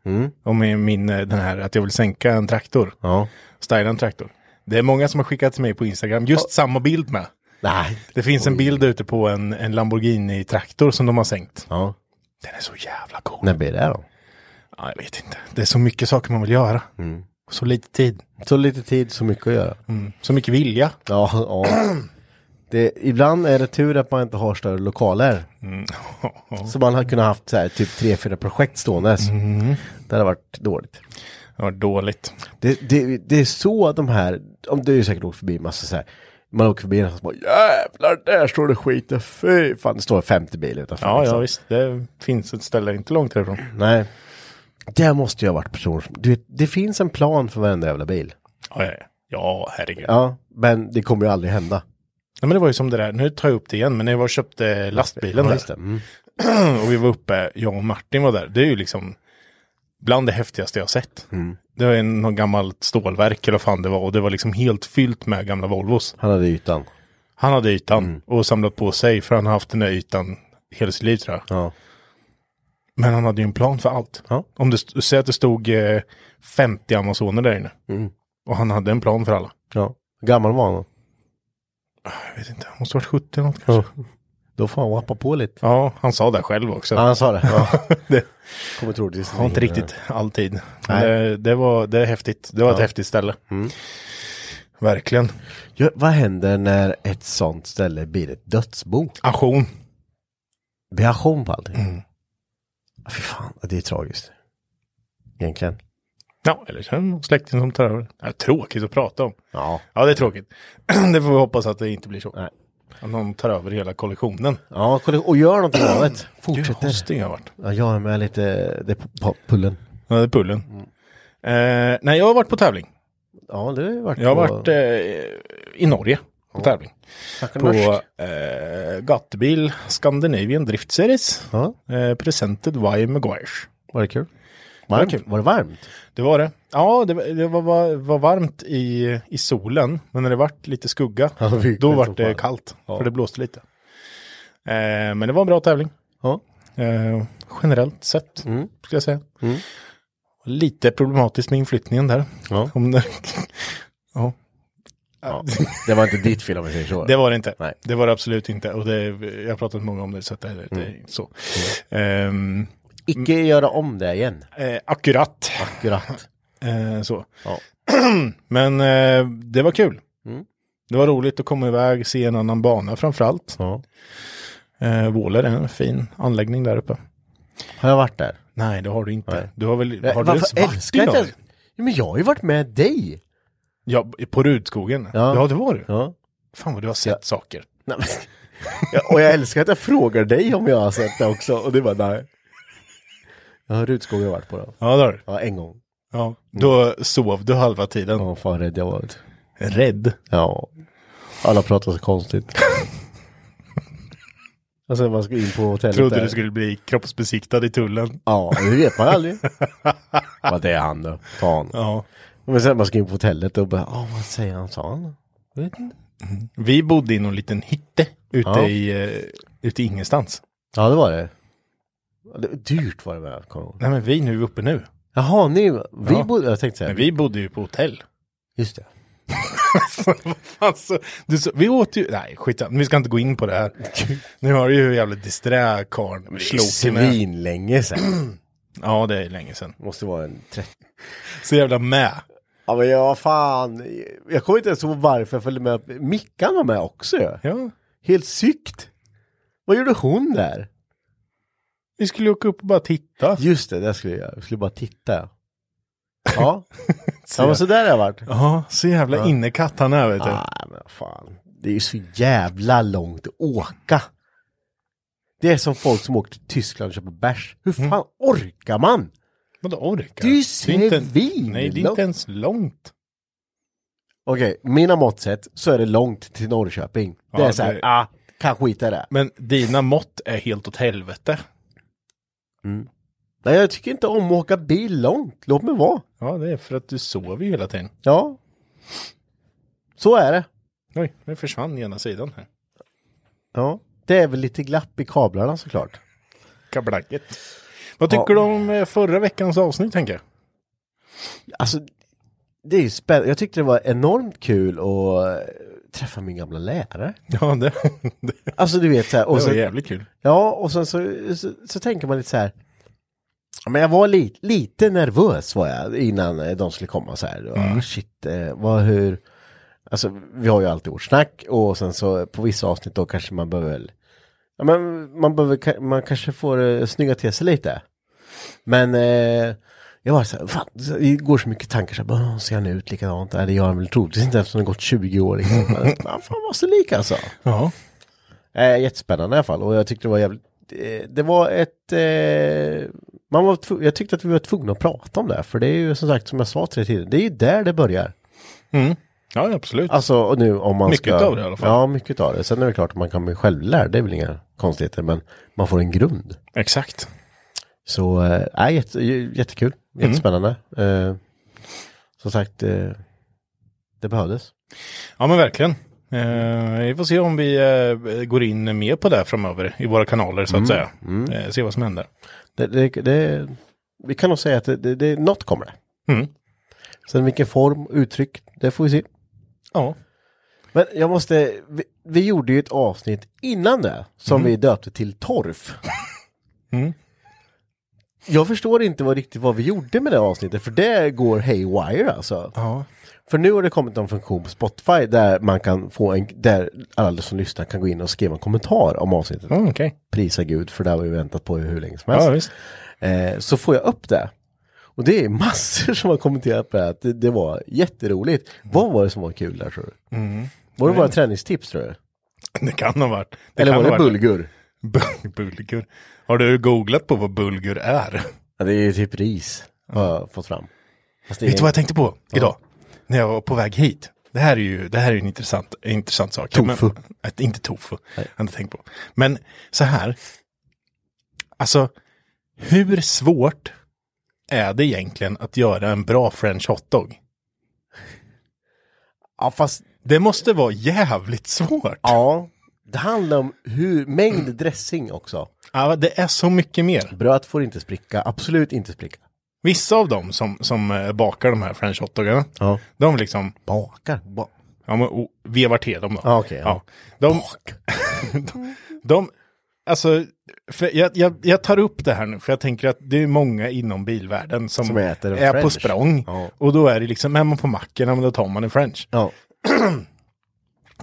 S3: Om min- min, eh, den här, att jag vill sänka en traktor.
S2: Ja.
S3: Styla en traktor. Det är många som har skickat till mig på Instagram, just samma bild med.
S2: Nej.
S3: Det finns en bild ute på en, en Lamborghini-traktor som de har sänkt.
S2: Ja.
S3: Den är så jävla cool.
S2: När blir det då?
S3: Ja, jag vet inte. Det är så mycket saker man vill göra. Och Så lite tid.
S2: Så lite tid, så mycket att göra.
S3: Mm. Så mycket vilja.
S2: Ja, ja. Det, ibland är det tur att man inte har större lokaler. Så man hade kunnat haft så här, typ tre, fyra projekt ståendes. Det hade varit dåligt.
S3: Det var dåligt.
S2: Det, det, det är så att de här, om du har ju säkert åkt förbi massa så här Man åker förbi den och så bara jävlar, där står det skiten, fy fan. Det står 50 bilar utanför.
S3: Ja, ja
S2: liksom.
S3: visst. Det finns ett ställe inte långt härifrån.
S2: Nej. Där måste jag ha varit person som, du vet, det finns en plan för varenda jävla bil.
S3: Ja, ja, ja. ja herregud.
S2: Ja, men det kommer ju aldrig hända.
S3: Nej, men det var ju som det där, nu tar jag upp det igen, men när jag var och köpte lastbilen
S2: Ja,
S3: där,
S2: just det. Mm.
S3: <clears throat> och vi var uppe, jag och Martin var där, det är ju liksom bland det häftigaste jag har sett.
S2: Mm.
S3: Det var en, någon gammalt stålverk eller vad fan det var och det var liksom helt fyllt med gamla Volvos.
S2: Han hade ytan.
S3: Han hade ytan
S2: Mm.
S3: och samlat på sig för han har haft den där ytan hela sitt liv tror jag.
S2: Ja.
S3: Men han hade ju en plan för allt.
S2: Ja.
S3: Om det, st- säg att det stod eh, 50 Amazoner där inne.
S2: Mm.
S3: Och han hade en plan för alla.
S2: ja. Hur gammal var han? då?
S3: Jag vet inte, han måste ha varit 70 eller något kanske. Ja.
S2: Då får han wappa på lite.
S3: han sa det själv också.
S2: Ja, han
S3: <laughs>
S2: sa det. Ja.
S3: det,
S2: Kommer troligtvis
S3: har inte riktigt alltid. Men
S2: Nej.
S3: Det, det, var, det är häftigt. Det var ett häftigt ställe. Verkligen.
S2: Ja, vad händer när ett sånt ställe blir ett dödsbo?
S3: Aktion.
S2: Blir auktion på allting?
S3: Mm.
S2: Ja, Fy fan, det är tragiskt. Egentligen.
S3: Ja, eller så är det någon släkting som tar över. Det är tråkigt att prata om.
S2: Ja.
S3: Ja, det är tråkigt. <clears throat> det får vi hoppas att det inte blir så.
S2: Nej.
S3: Att någon tar över hela kollektionen.
S2: Ja, kolla- och gör
S3: <clears throat>
S2: någonting av det.
S3: Gud, vad
S2: Fortsätter.
S3: hostig jag har varit.
S2: Ja, jag är med lite, det är på, på pullen.
S3: Ja, det är pullen. Eh, nej, jag har varit på tävling.
S2: Ja, det har ju varit
S3: Jag har
S2: på-
S3: varit eh, i Norge på tävling.
S2: Snackar
S3: På
S2: norskt.
S3: eh, Gatebil Scandinavian Drift Series.
S2: Ja,
S3: Eh, presented by Maguire.
S2: var det kul? Varmt?
S3: kul.
S2: Var det varmt?
S3: Det var det. Ja, det, var- det var, var, var varmt i, i solen, men när det vart lite skugga,
S2: Ja, verkligen
S3: då
S2: som
S3: vart det
S2: fan.
S3: kallt,
S2: Ja.
S3: för det blåste lite. Eh, men det var en bra tävling,
S2: Ja. Mm.
S3: eh, generellt sett, skulle jag säga. Lite problematiskt med inflyttningen där.
S2: Ja.
S3: Om det, ja,
S2: ja. <laughs> Det var inte ditt fel om vi säger så.
S3: det var det inte.
S2: Nej.
S3: Det var det absolut inte. Och det, jag har pratat med många om det, så att det, det är
S2: Mm.
S3: inte så. Ehm,
S2: Icke göra om det igen.
S3: eh, akkurat.
S2: Akkurat.
S3: <laughs> Eh, så.
S2: Ja.
S3: <clears throat>
S2: Mm.
S3: Men eh, det var kul. Det var roligt att komma iväg, se en annan bana framförallt.
S2: Ja.
S3: Eh, Våler är en fin anläggning där uppe.
S2: Har jag varit där?
S3: Nej, det har du inte.
S2: Nej.
S3: Du har väl,
S2: Eh,
S3: har du ens varit i
S2: jag inte
S3: Norge?
S2: ens- Ja, Men jag har ju varit med dig.
S3: Ja, på Rudskogen. Ja,
S2: Ja.
S3: det var du.
S2: Ja.
S3: Fan vad du har sett
S2: Ja.
S3: saker.
S2: Nej, men... Ja, och jag älskar att jag frågar dig om jag har sett det också. Och du bara nej. Jag har Rutskog jag har varit på då.
S3: Ja, det har du.
S2: Ja, en gång.
S3: Ja. Då sov du halva tiden.
S2: Ja, vad fan rädd jag varit.
S3: Rädd.
S2: Ja. Alla pratar så
S3: <laughs>
S2: konstigt. alltså man ska in på hotellet
S3: Trodde
S2: där.
S3: du skulle bli kroppsbesiktad i tullen.
S2: Ja, det vet man
S3: <laughs>
S2: aldrig. Vad det är han då. Fan.
S3: Ja.
S2: Men sen man ska in på hotellet och bara, ja vad säger han, sa han? Jag vet inte.
S3: Vi bodde i någon liten hytte ute,
S2: Ja.
S3: i, eh, ute i ingenstans.
S2: Ja, det var det. Ja, det dyrt var det väl, kommer jag ihåg.
S3: Nej, men vi nu uppe nu.
S2: Jaha, ni, vi
S3: Ja.
S2: bodde, jag tänkte säga.
S3: Men vi bodde ju på hotell. <laughs>
S2: Just det.
S3: alltså, du, så, vi åt ju, nej skit vi ska inte gå in
S2: <laughs>
S3: på det här. Nu har du ju jävla disträ karln. slog till med.
S2: Svinlänge sen.
S3: Ja det är länge sedan.
S2: Måste vara en 30.
S3: Så jävla med.
S2: Ja men ja, fan. Jag kommer inte ens ihåg varför jag följde med. Mickan var med också ju.
S3: Ja.
S2: Helt sykt. Vad gjorde hon där?
S3: Vi skulle ju åka upp och bara titta.
S2: Just det, det skulle jag göra. Jag skulle bara titta. Ja. ja men så där Ah. har jag varit.
S3: Ja, så jävla innekatt han är vet du.
S2: Nej men fan. Det är ju så jävla långt att åka. Det är som folk som åker till Tyskland och köper bärs. Hur
S3: Mm.
S2: fan orkar man?
S3: Vadå orkar?
S2: Det är ju
S3: inte-
S2: svinlångt.
S3: Nej det är inte ens långt.
S2: Okej, mina mått sett så är det långt till Norrköping.
S3: Ja,
S2: det är så här,
S3: det-
S2: ah, kan skita i det.
S3: Men dina mått är helt åt helvete.
S2: Nej, jag tycker inte om att åka bil långt. Låt mig vara.
S3: Ja det är för att du sover ju hela tiden.
S2: Ja. Så är det.
S3: Oj, nu försvann ena sidan här.
S2: Ja. Det är väl lite glapp i kablarna såklart.
S3: Kablacket. Vad tycker du om eh, förra veckans avsnitt tänker jag?
S2: Alltså, det är ju spännande. Jag tyckte det var enormt kul att eh, träffa min gamla lärare.
S3: Ja det, <laughs> det,
S2: Alltså du vet så här. Och
S3: det var
S2: så,
S3: jävligt kul.
S2: ja, och sen så, så, så tänker man lite så här. Ja, Men jag var li, lite nervös var jag innan eh, de skulle komma så här.
S3: Mm.
S2: Ah, shit, eh, vad hur. Alltså vi har ju alltid vårt snack och sen så eh, på vissa avsnitt då kanske man behöver väl- Ja, men man, behöver, ka- man kanske får eh, snygga till sig lite. Men eh, Jag var så här, fan, det går så mycket tankar så här, bara, ser han ut likadant? Nej, det gör han väl troligtvis inte eftersom det har gått 20 år. Liksom. Men,
S3: <laughs>
S2: fan vad så lik alltså.
S3: Ja.
S2: Eh, jättespännande i alla fall och jag tyckte det var jävligt, eh, det var ett, eh, man var tv- jag tyckte att vi var tvungna att prata om det här, för det är ju som sagt som jag sa till dig tidigare, det är ju där det börjar.
S3: Ja, absolut.
S2: Alltså och nu om man
S3: Mycket
S2: ska...
S3: av det i alla fall.
S2: Ja, mycket av det. Sen är det klart att man kan bli självlärd, det är väl inga konstigheter, men man får en grund.
S3: Exakt.
S2: Så, eh, nej, jätte, jättekul,
S3: Mm.
S2: jättespännande. Eh, som sagt, eh, det behövdes.
S3: Ja, men verkligen. Eh, vi får se om vi eh, går in mer på det här framöver i våra kanaler så att säga. Eh, se vad som händer.
S2: Det, det, det, vi kan nog säga att det, det, det, något kommer det.
S3: Mm.
S2: Sen vilken form, uttryck, det får vi se.
S3: Ja.
S2: Men jag måste, vi, vi gjorde ju ett avsnitt innan det som
S3: Mm.
S2: vi döpte till
S3: <laughs>
S2: Torf. Jag förstår inte vad, riktigt vad vi gjorde med det avsnittet för det går haywire alltså.
S3: ja.
S2: För nu har det kommit en funktion på Spotify där man kan få en, där alla som lyssnar kan gå in och skriva en kommentar om avsnittet.
S3: Mm, Okej.
S2: Prisa gud för det har vi väntat på hur länge som helst.
S3: Ja, visst. <laughs>
S2: Eh, så får jag upp det. Och det är massor som har kommenterat på det här, att det, det var jätteroligt. Vad var det som var kul där tror du?
S3: Mm.
S2: Var det våra träningstips tror du?
S3: Det kan ha varit. Det
S2: Eller
S3: kan
S2: var
S3: ha
S2: det
S3: varit.
S2: bulgur?
S3: <laughs> Bu- bulgur. Har du googlat på vad bulgur är?
S2: Ja, det är ju typ ris har jag fått fram. Fast det
S3: Vet du vad
S2: är
S3: jag tänkte på idag? När jag var på väg hit. Det här är ju det här är en intressant, en intressant sak.
S2: Tofu.
S3: Men, att, inte tofu. Jag hade tänkt på. Men så här. Alltså, hur svårt är det egentligen att göra en bra french hotdog?
S2: ja, fast,
S3: Det måste vara jävligt svårt.
S2: ja, det handlar om hur, mängd dressing också.
S3: Ja, det är så mycket mer.
S2: Bröd får inte spricka, absolut inte spricka.
S3: Vissa av dem som, som eh, bakar de här french hotdogarna,
S2: Ja.
S3: de liksom
S2: Bakar? Ba
S3: Ja, men o- vevar till dem då.
S2: Ja, Ah, okej, ja.
S3: De, <laughs> de, de, alltså, för jag, jag, jag tar upp det här nu, för jag tänker att det är många inom bilvärlden som,
S2: Som äter en
S3: är på
S2: french.
S3: språng.
S2: Ja.
S3: Och då är det liksom, är man på macken, ja, men då tar man en french.
S2: ja.
S3: <clears throat>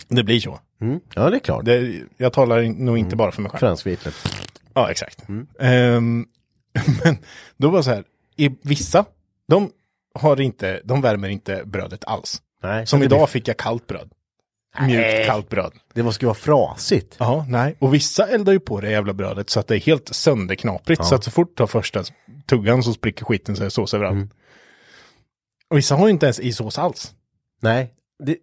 S3: Det blir så.
S2: Mm. ja, det är klart.
S3: Det, jag talar in- nog inte
S2: Mm.
S3: bara för mig själv.
S2: Fransk vitlök.
S3: Ja, exakt. Ehm, <laughs> men då var det så här, i vissa, de har inte, de värmer inte brödet alls.
S2: Nej,
S3: Som
S2: det
S3: idag
S2: blir-
S3: fick jag kallt bröd. Mjukt kallt bröd.
S2: Det måste ju vara frasigt.
S3: Ja, nej. Och vissa eldar ju på det jävla brödet så att det är helt sönderknaprigt. Så att så fort du tar första tuggan så spricker skiten så är det sås överallt. Och vissa har ju inte ens i sås alls.
S2: Nej. Det...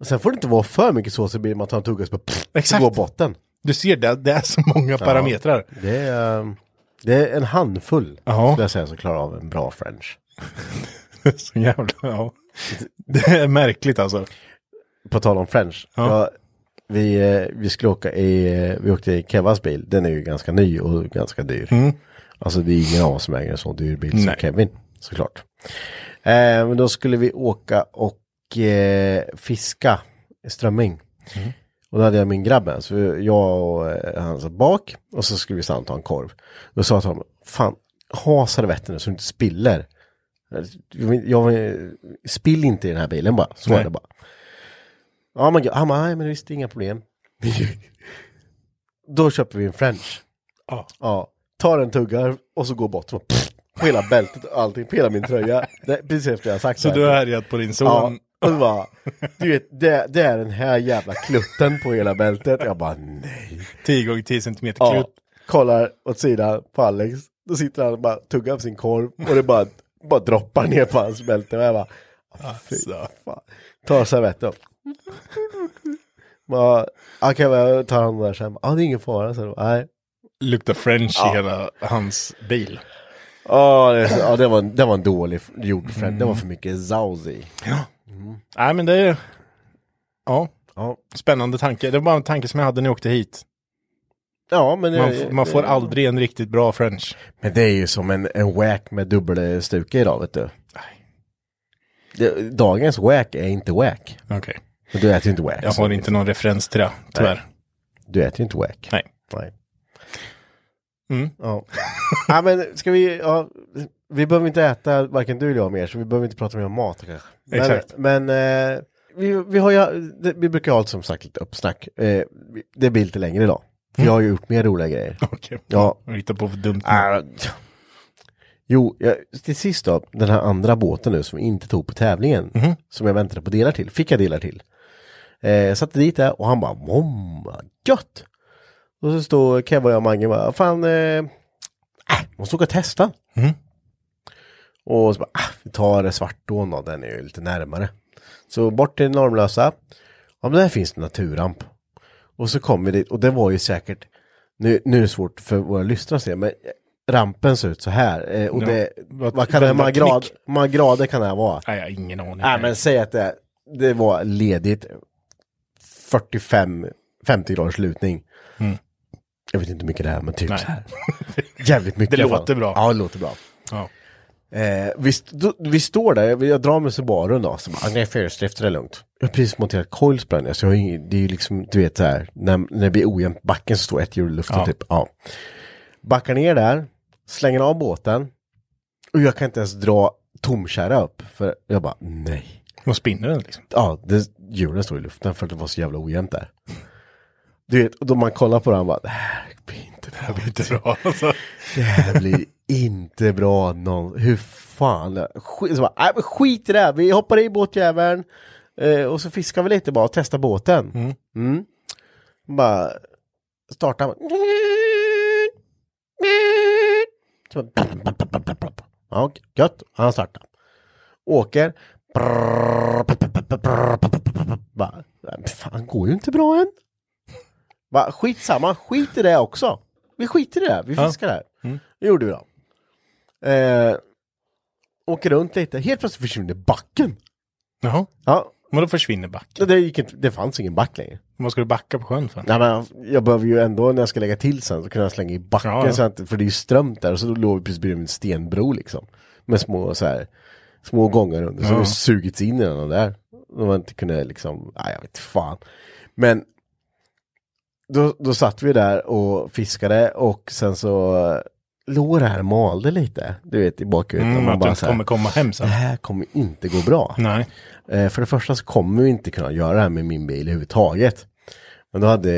S2: och Sen får det inte vara för mycket sås så blir man tar en tugga och så bara pff,
S3: Exakt.
S2: går botten.
S3: Du ser, det, det är så många parametrar. <laughs>
S2: Det är, ehm, det är en handfull
S3: Ja.
S2: skulle jag säga som klarar av en bra french.
S3: så jävla, <laughs> ja. Det är märkligt alltså.
S2: På tal om french. Jag, vi, eh, vi skulle åka i, eh, vi åkte i Kevas bil. Den är ju ganska ny och ganska dyr. Alltså det är ingen av oss som äger en så dyr bil som
S3: Mm. Nej.
S2: Kevin. Såklart. Eh, men då skulle vi åka och eh, fiska strömming. Och då hade jag min grabb med, så jag och eh, han satt bak och så skulle vi stanna och ta en korv. Då sa jag till honom, fan ha servetten nu så du inte spiller. Jag, jag, spill inte i den här bilen bara, så var
S3: Nej.
S2: det bara. Ja men han bara, nej men visst det är inga problem. <laughs> Då köper vi en french.
S3: Ja.
S2: Ja, tar en tugga och så går bort. Så, pff, på hela bältet och allting, på hela min tröja. Det, precis efter jag har sagt
S3: Så
S2: det
S3: du
S2: här.
S3: har härjat på din
S2: Ja,
S3: son.
S2: och det bara, <laughs> du vet, det, det är den här jävla klutten på hela bältet. Jag bara, nej.
S3: 10 gånger 10 centimeter
S2: Ja,
S3: klut.
S2: kollar åt sidan på Alex. Då sitter han och bara tuggar på sin korv och det bara, bara droppar ner på hans bälte. Och jag bara, "Ah,
S3: Alltså.
S2: fan. Tar servetten. <laughs> Bara, "Ah, Okej, men jag tar hand om det här sen. Ja, ah, det är ingen fara. Så, nej.
S3: Luktar french i hela hans bil.
S2: Ja, det, ja, det, var, det var en dålig gjord mm. Det var för mycket zauzi.
S3: Nej, men det är... Ja,
S2: Ja,
S3: spännande tanke. Det var bara en tanke som jag hade när jag åkte hit.
S2: ja men... det-
S3: Man, f- man får aldrig en riktigt bra french.
S2: Men det är ju som en, en wack med dubbelstuka idag, vet du. Det, dagens wack är inte wack.
S3: Okej.
S2: Men du äter ju inte wack.
S3: Jag
S2: så
S3: har inte någon referens till det, tyvärr.
S2: Du äter ju inte wack.
S3: Nej.
S2: Nej.
S3: Mm.
S2: Ja. ja, men ska vi... Ja, vi behöver inte äta, varken du eller jag mer, så vi behöver inte prata mer om mat kanske. Men,
S3: Exakt.
S2: Men eh, vi, vi har ju... det- Vi brukar ha som sagt lite uppsnack. Eh, vi- det blir lite längre Mm. idag. För jag har ju gjort mer roliga grejer.
S3: Okej.
S2: Ja. Äh.
S3: Jag hittar på för dumt. nu.
S2: Ah, Jo, jag, till sist då, den här andra båten nu som vi inte tog på tävlingen, som jag väntade på delar till, fick jag delar till. Eh, jag satte dit det och han bara, mom, vad gött! Och så står Kevin och Mange och bara, fan, eh, äh, måste åka och testa. Och så bara, ah, vi tar Svartån då, den är ju lite närmare. Så bort till Normlösa, ja men där finns det naturramp. Och så kom vi dit och det var ju säkert, nu, nu är det svårt för våra lyssnare att se, men rampen ser ut så här. eh, Och
S3: Ja.
S2: det,
S3: Vad-
S2: vad kan det, hur många,
S3: vända
S2: grad,
S3: knick.
S2: hur många grader kan det här vara?
S3: Nej, jag har ingen aning.
S2: Nej men säg att det, det var ledigt 45, 50 graders lutning. Jag vet inte hur mycket det är men typ
S3: Mm.
S2: så
S3: Nej.
S2: här. Jävligt mycket.
S3: Det
S2: i alla fall.
S3: låter bra.
S2: Ja det låter bra.
S3: Ja.
S2: Eh, vi, st- då, vi står där, jag, jag drar med Subarun då. Så bara, nej fyrstrift, det är lugnt. Jag har precis monterat coils på den. här, Så jag har ingen, det är ju liksom, du vet så här, när, när det blir ojämnt backen så står ett hjul i luften
S3: Ja.
S2: typ. Ja. Backar ner där, slänger av båten. Och jag kan inte ens dra tomkärra upp. För jag bara, nej
S3: Och spinner den liksom.
S2: ja, det, hjulen stod i luften för att det var så jävla ojämnt där. Du vet, och då man kollar på den bara, det här blir inte bra.
S3: Det är bra alltså.
S2: Det här blir inte bra någon, hur fan. Skit, så bara, "Nej, men skit i det här, vi hoppar i båtjäveln. Eh, och så fiskar vi lite bara och testar båten. Mm. Bara startar. Så bara, ja, gött, han startar. Åker. Bara, fan, går ju inte bra än. Bara, skitsamma, skit i det också. Vi skiter i det, här, vi
S3: Ja.
S2: fiskar här.
S3: Mm.
S2: Det gjorde vi då. Eh, åker runt lite, helt plötsligt försvinner backen.
S3: Jaha,
S2: Ja,
S3: men då försvinner backen.
S2: det, gick inte, det fanns ingen back längre.
S3: Vad ska du backa på sjön för?
S2: Nej, men jag behöver ju ändå när jag ska lägga till sen så kunna slänga i backen.
S3: Ja, ja.
S2: Så att, för det är ju strömt där och så låg vi precis bredvid en stenbro liksom. Med små så här, små gångar under. Så
S3: Ja.
S2: det sugits in i den där. Och man inte kunde liksom, nej jag vet fan. Men då, då satt vi där och fiskade och sen så låg det här och malde lite. Du vet i bakhuvudet. och
S3: Mm,
S2: man
S3: att
S2: bara
S3: du
S2: så
S3: inte
S2: här,
S3: kommer komma hem
S2: Det
S3: sen.
S2: här kommer inte gå bra.
S3: Nej.
S2: Eh, för det första så kommer vi inte kunna göra det här med min bil överhuvudtaget. Men då hade,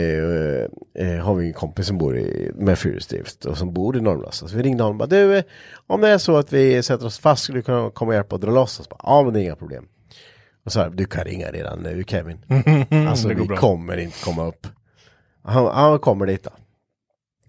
S2: eh, eh, har vi en kompis som bor i, med fyrhjulsdrift och som bor i Normlösa. Så vi ringde honom och bara du, eh, om det är så att vi sätter oss fast, skulle du kunna komma och hjälpa och dra loss oss? Bara, Ja, men det är inga problem. Och så här, du kan ringa redan nu Kevin. alltså
S3: Mm. det går
S2: vi
S3: bra.
S2: kommer inte komma upp. Han, han kommer dit då.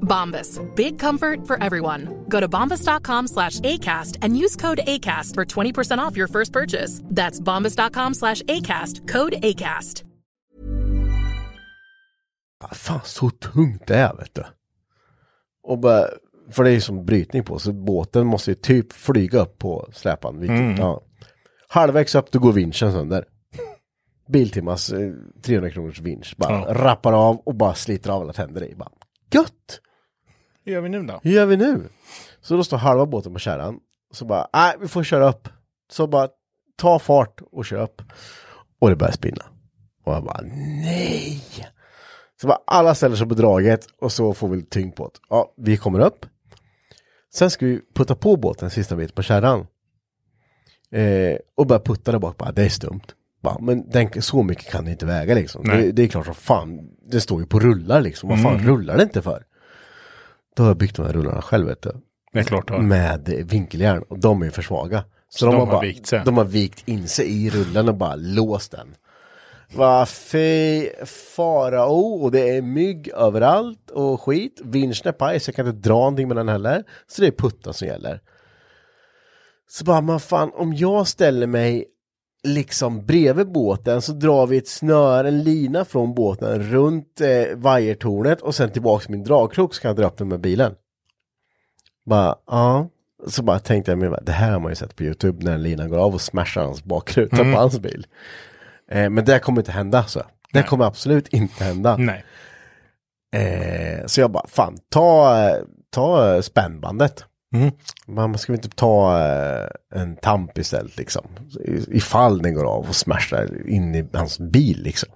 S4: Bombas. Big comfort for everyone. Go to bombas.com slash ACAST and use code ACAST for 20% off your first purchase. That's bombas.com slash ACAST. Code ACAST.
S2: Ah, fan så tungt det är vet du. Och bara, för det är ju som brytning på så båten måste ju typ flyga upp på släpan. Vilket, ja. Halvvägs upp då går vinschen sönder. Biltimmas eh, 300 kronors vinsch bara
S3: Ja.
S2: rappar av och bara sliter av alla tänder i. Bara, Gött!
S3: Hur gör vi nu då?
S2: Hur gör vi nu? Så då står halva båten på kärran. Så bara, nej vi får köra upp. Så bara, ta fart och kör upp. Och det börjar spinna. Och jag bara, nej! Så bara, alla ställer sig på draget och så får vi lite tyngd på det. Ja, vi kommer upp. Sen ska vi putta på båten sista bit på kärran. Eh, och börja putta där bak, bara, det är stumt. Bara, men den, så mycket kan det inte väga liksom.
S3: Nej.
S2: Det, det är klart som fan, det står ju på rullar liksom. Vad fan
S3: Mm.
S2: rullar det inte för? Då har jag byggt de här rullarna själv vet du.
S3: Det är klart då.
S2: Med eh, vinkeljärn och de är ju för svaga. Så de,
S3: de
S2: har
S3: har
S2: bara,
S3: vikt sig.
S2: de har vikt in sig i rullen och bara låst den. Vad fy farao och det är mygg överallt och skit. Vinschen är paj så jag kan inte dra någonting med den heller. Så det är putta som gäller. Så bara, man fan om jag ställer mig liksom bredvid båten så drar vi ett snöre, en lina från båten runt eh, vajertornet och sen tillbaks till min dragkrok så kan jag dra upp den med bilen. Bara, ja. Så bara tänkte jag, men det här har man ju sett på YouTube när linan går av och smashar hans bakruta på hans bil. Eh, men det kommer inte hända, så. Det kommer absolut inte hända.
S3: Nej.
S2: Eh, så jag bara, fan, ta, eh, ta eh, spännbandet.
S3: Mm.
S2: Man ska vi inte ta eh, en tamp istället liksom? I- Ifall den går av och smashar in i hans bil liksom.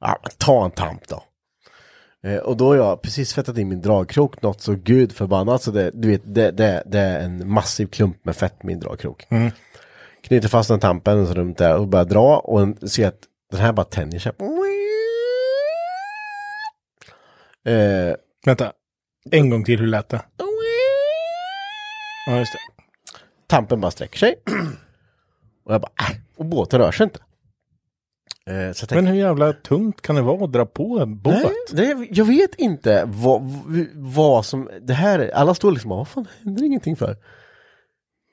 S2: Ja, men ta en tamp då. Eh, och då har jag precis fettat in min dragkrok något så gud förbannat så det, du vet, det, det, det är en massiv klump med fett i min dragkrok. Knyter fast den tampen så runt där och börjar dra och en- ser att den här bara tänjer sig. Eh,
S3: Vänta. En gång till, hur lät det? Ja, just det.
S2: tampen bara sträcker
S3: <clears throat>
S2: sig. Och jag bara, äh, och båten rör sig inte. Eh, så jag
S3: Men
S2: tänkte,
S3: hur jävla tungt kan det vara att dra på en båt?
S2: nej, nej, jag vet inte vad, v- vad som, det här, är- alla står liksom, vad fan händer ingenting för?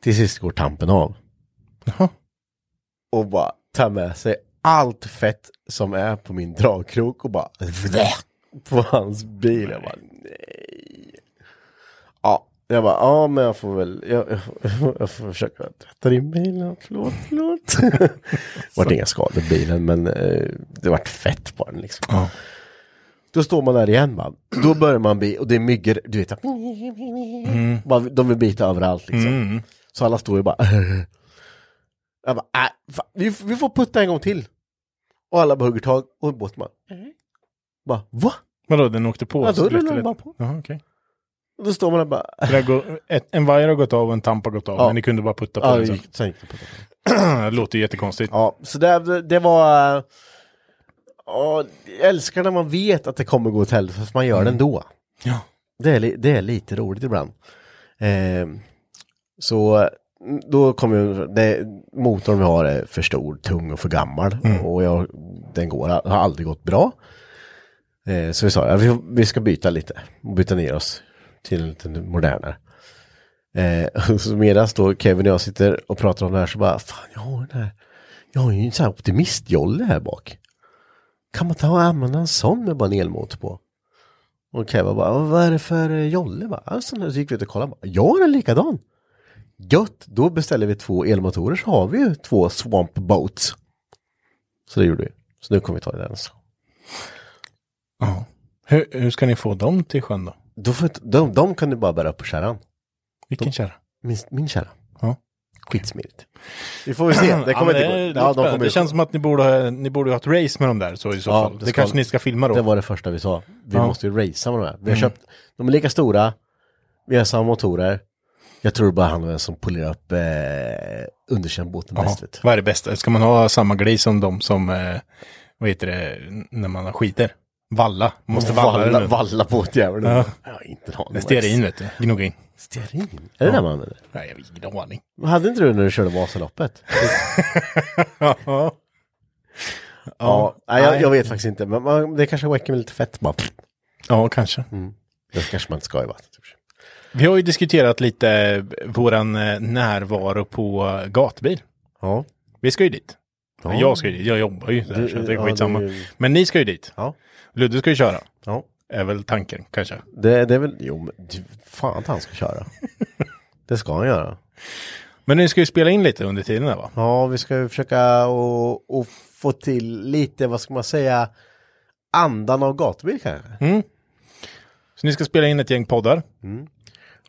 S2: Till sist går tampen av.
S3: Jaha.
S2: Och bara tar med sig allt fett som är på min dragkrok och bara, på hans bil. Jag bara, nej. Ja, jag bara, ja men jag får väl, jag, jag, får- jag <laughs> får försöka tvätta din bil. Förlåt, förlåt. det vart inga skador i bilen men eh, det vart fett på den liksom.
S3: Ja.
S2: Då står man där igen man. Då börjar man bli, och det är myggor, du vet. Bara, de vill bita överallt liksom.
S3: Mm.
S2: Så alla står ju bara. <laughs> Jag bara, äh, fan, vi, f- vi får putta en gång till. Och alla bara hugger tag och båten bara. Bara, va?
S3: Vadå, den åkte på?
S2: Ja,
S3: så
S2: då
S3: lätt-
S2: rullar den
S3: lätt-
S2: bara på.
S3: Jaha, okej.
S2: Och då står man där bara. <laughs>
S3: Det där går- ett- En vajer har gått av och en tamp har gått av,
S2: Ja.
S3: men ni kunde bara putta på
S2: Ja,
S3: den
S2: det
S3: sen.
S2: gick- sen gick det på.
S3: <clears throat> Det låter ju jättekonstigt.
S2: Ja, så det, det var... Ja, jag älskar när man vet att det kommer gå åt helvete, fast man gör det ändå.
S3: Ja.
S2: Det är, li- det är lite roligt ibland. Eh, så mm, då kommer ju- det, motorn vi har är för stor, tung och för gammal. Och jag, den går, har aldrig gått bra. Eh, så vi sa att vi, vi ska byta lite och byta ner oss till en lite modernare. Eh, och <laughs> så medan då Kevin och jag sitter och pratar om det här så bara, fan jag har den här, jag har ju en sån här optimistjolle här bak. Kan man ta och använda en sån med bara en elmotor på? Och Kevin bara, vad är det för eh, jolle? Bara, "Ja, sån här." Så gick vi ut och kollade, bara, jag har en likadan. Gött, då beställer vi två elmotorer så har vi ju två swamp boats. Så det gjorde vi. Så nu kommer vi ta den. Så.
S3: Ja. Hur, hur ska ni få dem till sjön då?
S2: Då får, inte- de, de kan du bara bära upp på kärran.
S3: Vilken kärra?
S2: Min, min kärra.
S3: Ja.
S2: Skitsmidigt. <clears throat> Vi får väl se, det kommer
S3: ja, men
S2: inte
S3: det,
S2: gå.
S3: det,
S2: Ja, de
S3: låter bra.
S2: kommer
S3: det känns som att ni borde, ha, ni borde ha ett race med dem där så i så
S2: Ja,
S3: fall.
S2: det
S3: Det,
S2: ska-
S3: kanske ni ska filma då.
S2: Det var det första vi sa. Vi
S3: Ja. Mm.
S2: måste ju racea med de här. Vi har köpt, de är lika stora, vi har samma motorer. Jag tror det bara handlar om vem som polerar upp eh, underkännbåten
S3: ja.
S2: bäst. vet du.
S3: Vad är det bästa? Ska man ha samma grej som de som, eh, vad heter det, n- när man har skiter? Valla. Måste valla, den
S2: Valla,
S3: nu.
S2: valla båtjäveln.
S3: Ja.
S2: Jag har inte en aning.
S3: Stearin vet du, gnugga in.
S2: Stearin? Är det det man använder?
S3: Nej, jag har
S2: <laughs>
S3: ingen aning.
S2: Hade inte du när du körde Vasaloppet?
S3: ja.
S2: ja, nej, jag,
S3: nej.
S2: jag vet faktiskt inte. Men man, det kanske räcker med lite fett bara.
S3: ja, kanske.
S2: Det kanske man inte ska i vattnet.
S3: Mm. Vi har ju diskuterat lite eh, våran eh, närvaro på eh, gatbil.
S2: Ja.
S3: Vi ska ju dit.
S2: Ja.
S3: Jag ska ju dit, jag jobbar ju där, så att det är
S2: ja,
S3: skitsamma.
S2: det är-
S3: Men ni ska ju dit.
S2: Ja.
S3: Ludde ska ju köra,
S2: ja.
S3: är väl tanken kanske.
S2: Det, det är väl, jo men du, fan att han ska
S3: <laughs>
S2: köra. det ska han göra.
S3: Men ni ska ju spela in lite under tiden där va?
S2: Ja, vi ska ju försöka och, och få till lite, vad ska man säga, andan av gatubil kanske.
S3: Så ni ska spela in ett gäng poddar.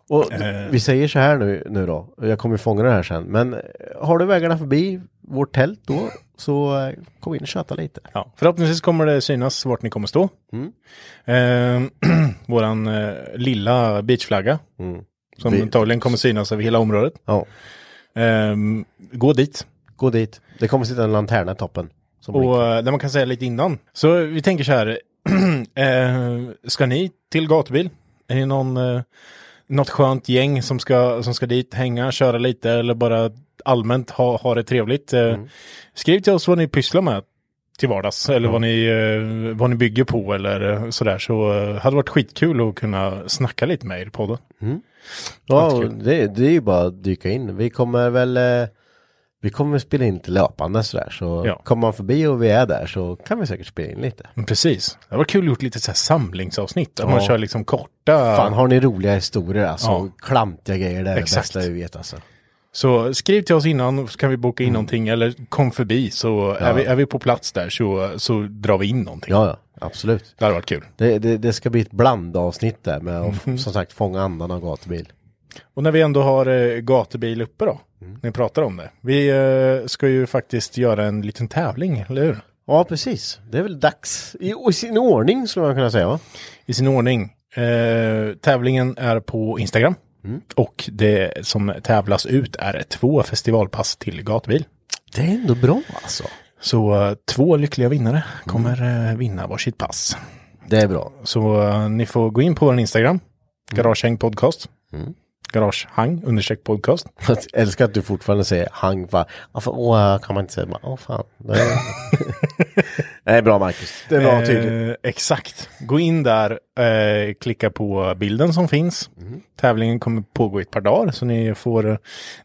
S2: Och
S3: Eh.
S2: vi säger så här nu, nu då, och jag kommer ju fånga det här sen, men eh, har du vägarna förbi vårt tält då, så eh, kom in och köta lite.
S3: Ja. Förhoppningsvis kommer det synas vart ni kommer stå.
S2: Mm.
S3: Eh, <clears throat> våran eh, lilla beachflagga. Som
S2: Mm. Vi-
S3: antagligen kommer synas över hela området.
S2: Ja,
S3: Eh, gå dit.
S2: gå dit. Det kommer sitta en lanterna i toppen. Som blinkar.
S3: Och eh, det man kan säga lite innan. Så vi tänker så här. <clears throat> eh, ska ni till gatubil? Är det någon, eh, något skönt gäng som ska, som ska dit hänga, köra lite eller bara allmänt ha, ha det trevligt? Eh,
S2: Mm.
S3: Skriv till oss vad ni pysslar med till vardags eller vad, ni, eh, vad ni bygger på eller eh, sådär. Så eh, hade det varit skitkul att kunna snacka lite med er i podden.
S2: Ja,
S3: Alltid
S2: och det, det är ju bara att dyka in. Vi kommer väl eh, Vi kommer spela in lite löpande sådär, så
S3: Ja.
S2: kommer man förbi och vi är där så kan vi säkert spela in lite.
S3: Men Mm, Precis. Det var kul gjort lite så här samlingsavsnitt. Att
S2: Ja.
S3: man kör liksom korta.
S2: Fan, har ni roliga historier alltså?
S3: Ja.
S2: Klantiga grejer, det är
S3: Exakt.
S2: det bästa vi vet alltså.
S3: Så skriv till oss innan så kan vi
S2: Mm.
S3: boka in någonting. Eller kom förbi så är, vi, är vi på plats där så, så drar vi in någonting.
S2: Ja, ja, absolut.
S3: Det hade varit kul.
S2: Det, det, det ska bli ett blandavsnitt där med att som sagt fånga andan av gatubil.
S3: Och när vi ändå har eh, gatubil uppe då.
S2: Mm.
S3: Ni pratar om det. Vi eh, ska ju faktiskt göra en liten tävling, eller hur?
S2: Ja, precis. Det är väl dags i, i sin ordning skulle man kunna säga. Va?
S3: i sin ordning. Eh, tävlingen är på Instagram.
S2: Mm.
S3: Och det som tävlas ut är två festivalpass till gatbil.
S2: Det är ändå bra alltså.
S3: Så eh, två lyckliga vinnare
S2: Mm.
S3: kommer eh, vinna varsitt pass.
S2: Det är bra.
S3: Så eh, ni får gå in på vår
S2: Mm.
S3: Instagram, Garagehäng podcast. Garagehang understreck podcast.
S2: Jag älskar att du fortfarande säger hang va. Ja, för, åh, kan man inte säga bara, åh fan. Det är, <laughs> det är bra Marcus. Det är bra och tydligt.
S3: Eh, exakt. Gå in där, eh, klicka på bilden som finns.
S2: Mm.
S3: Tävlingen kommer pågå i ett par dagar, så ni får, eh,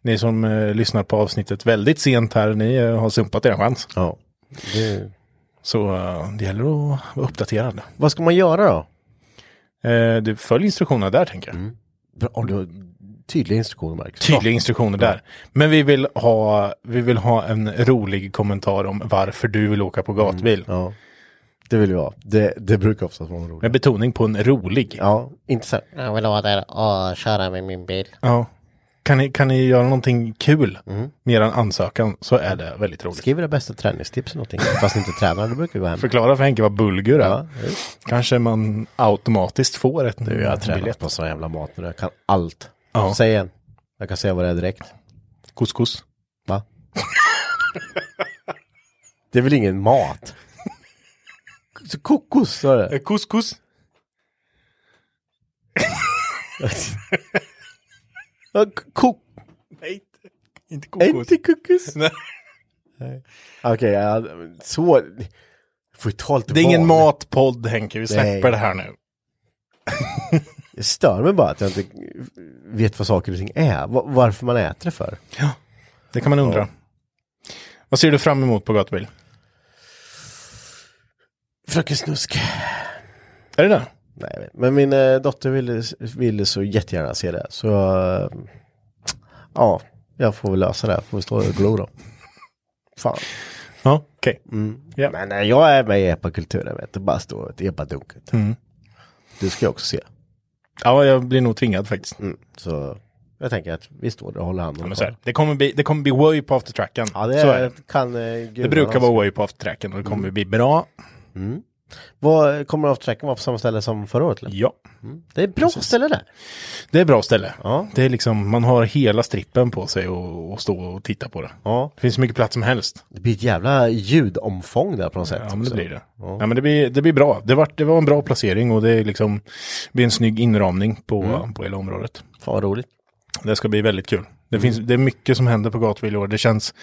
S3: ni som eh, lyssnar på avsnittet väldigt sent här, ni eh, har sumpat er chans.
S2: Ja. Det,
S3: Så eh, det gäller att vara uppdaterad.
S2: vad ska man göra då?
S3: Eh, du följ instruktionerna där, tänker jag.
S2: Mm. Bra, och du har tydliga instruktioner Marcus.
S3: Tydliga instruktioner där. Men vi vill, ha, vi vill ha en rolig kommentar om varför du vill åka på gatbil.
S2: Mm, Ja. Det vill vi ha. Det, det brukar oftast vara roligt.
S3: Med betoning på en rolig.
S2: Ja, inte så här.
S5: Jag vill vara där och köra med min bil.
S3: Ja. Kan ni, kan ni göra någonting kul
S2: Mm.
S3: med er ansökan så är det väldigt roligt.
S2: Skriv era bästa träningstips eller någonting. Fast ni inte tränar, det brukar gå hem.
S3: Förklara för Henke vad bulgur är.
S2: Ja,
S3: Kanske man automatiskt får ett
S2: Du, jag har tränat på sån jävla mat nu. Jag kan allt.
S3: Ja.
S2: Säg en. Jag kan säga vad det är direkt.
S3: Couscous.
S2: Va? det är väl ingen mat? Så Kokos, sa du?
S3: Couscous.
S2: Ja, k- Kok...
S3: <laughs> Nej, inte
S2: Inte kokos.
S3: Nej.
S2: Okej, ja, så... Du får ju ta lite
S3: Det är ingen
S2: val.
S3: matpodd Henke, vi släpper
S2: Nej.
S3: det här nu.
S2: Jag stör mig bara att jag inte vet vad saker och ting är. Va- Varför man äter det för.
S3: Det kan man undra. Vad ser du fram emot på gatubil?
S2: Fröken Snusk.
S3: Är det det?
S2: Nej, jag vet. men min eh, dotter ville, ville så jättegärna se det. Så eh, ja, jag får väl lösa det. här. Får vi stå och glo då. Fan.
S3: Ja, okej. Ja.
S2: Men Mm. nej, jag är med i epakulturen vet du. Bara stå och epadunk.
S3: Mm.
S2: Du ska jag också se.
S3: Ja, jag blir nog tvingad faktiskt.
S2: Mm. Så jag tänker att vi står där och håller handen.
S3: Men så här, det, kommer bli, det kommer bli way på aftertracken.
S2: Ja, det, Mm.
S3: så
S2: är,
S3: är det.
S2: kan eh, gudarna
S3: det brukar vara
S2: säga.
S3: way på aftertracken och det kommer bli bra.
S2: Vad, kommer off-tracken vara på samma ställe som förra året? eller?
S3: Ja.
S2: Mm. Det är ett bra ställe där.
S3: Det är ett bra ställe.
S2: Ja.
S3: Det är liksom, man har hela strippen på sig och, och stå och titta på det.
S2: Ja.
S3: Det finns så mycket plats som helst.
S2: Det blir ett jävla ljudomfång där på något sätt.
S3: Ja, men det
S2: också.
S3: blir det.
S2: Ja.
S3: Ja. men det, blir, det blir bra. Det var, det var en bra placering och det är liksom, det blir en snygg inramning på, på hela området.
S2: Mm. Fan vad roligt. Mm.
S3: Det ska bli väldigt kul. Det, finns, det är mycket som händer på gatubil i år. Det känns,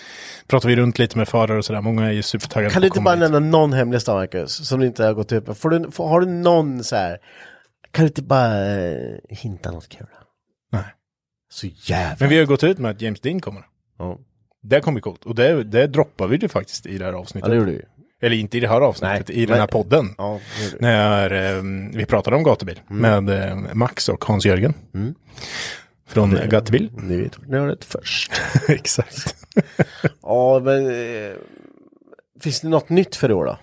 S3: pratar vi runt lite med förare och sådär, många är ju supertaggade
S2: Kan
S3: på
S2: du
S3: att
S2: inte
S3: komma
S2: bara
S3: hit.
S2: nämna någon hemlig stad, Marcus, som du inte har gått ut med? Får du, får, har du någon så här, kan du inte bara eh, hinta något kul?
S3: Nej.
S2: Så jävla...
S3: Men vi har ju gått ut med att James Dean kommer.
S2: Ja.
S3: Det kommer bli coolt. Och det, det droppar vi ju faktiskt i det här
S2: ja,
S3: avsnittet.
S2: det gjorde du ju.
S3: Eller inte i det här avsnittet,
S2: Nej,
S3: i den här
S2: men-
S3: podden.
S2: Ja, det Mm. gjorde du.
S3: När eh, vi pratade om gatubil med eh, Max och Hans-Jörgen.
S2: Mm.
S3: Från gatubil.
S2: Ni vet, ni har det först.
S3: <laughs> Exakt.
S2: ja, men... Eh, finns det något nytt för i år då?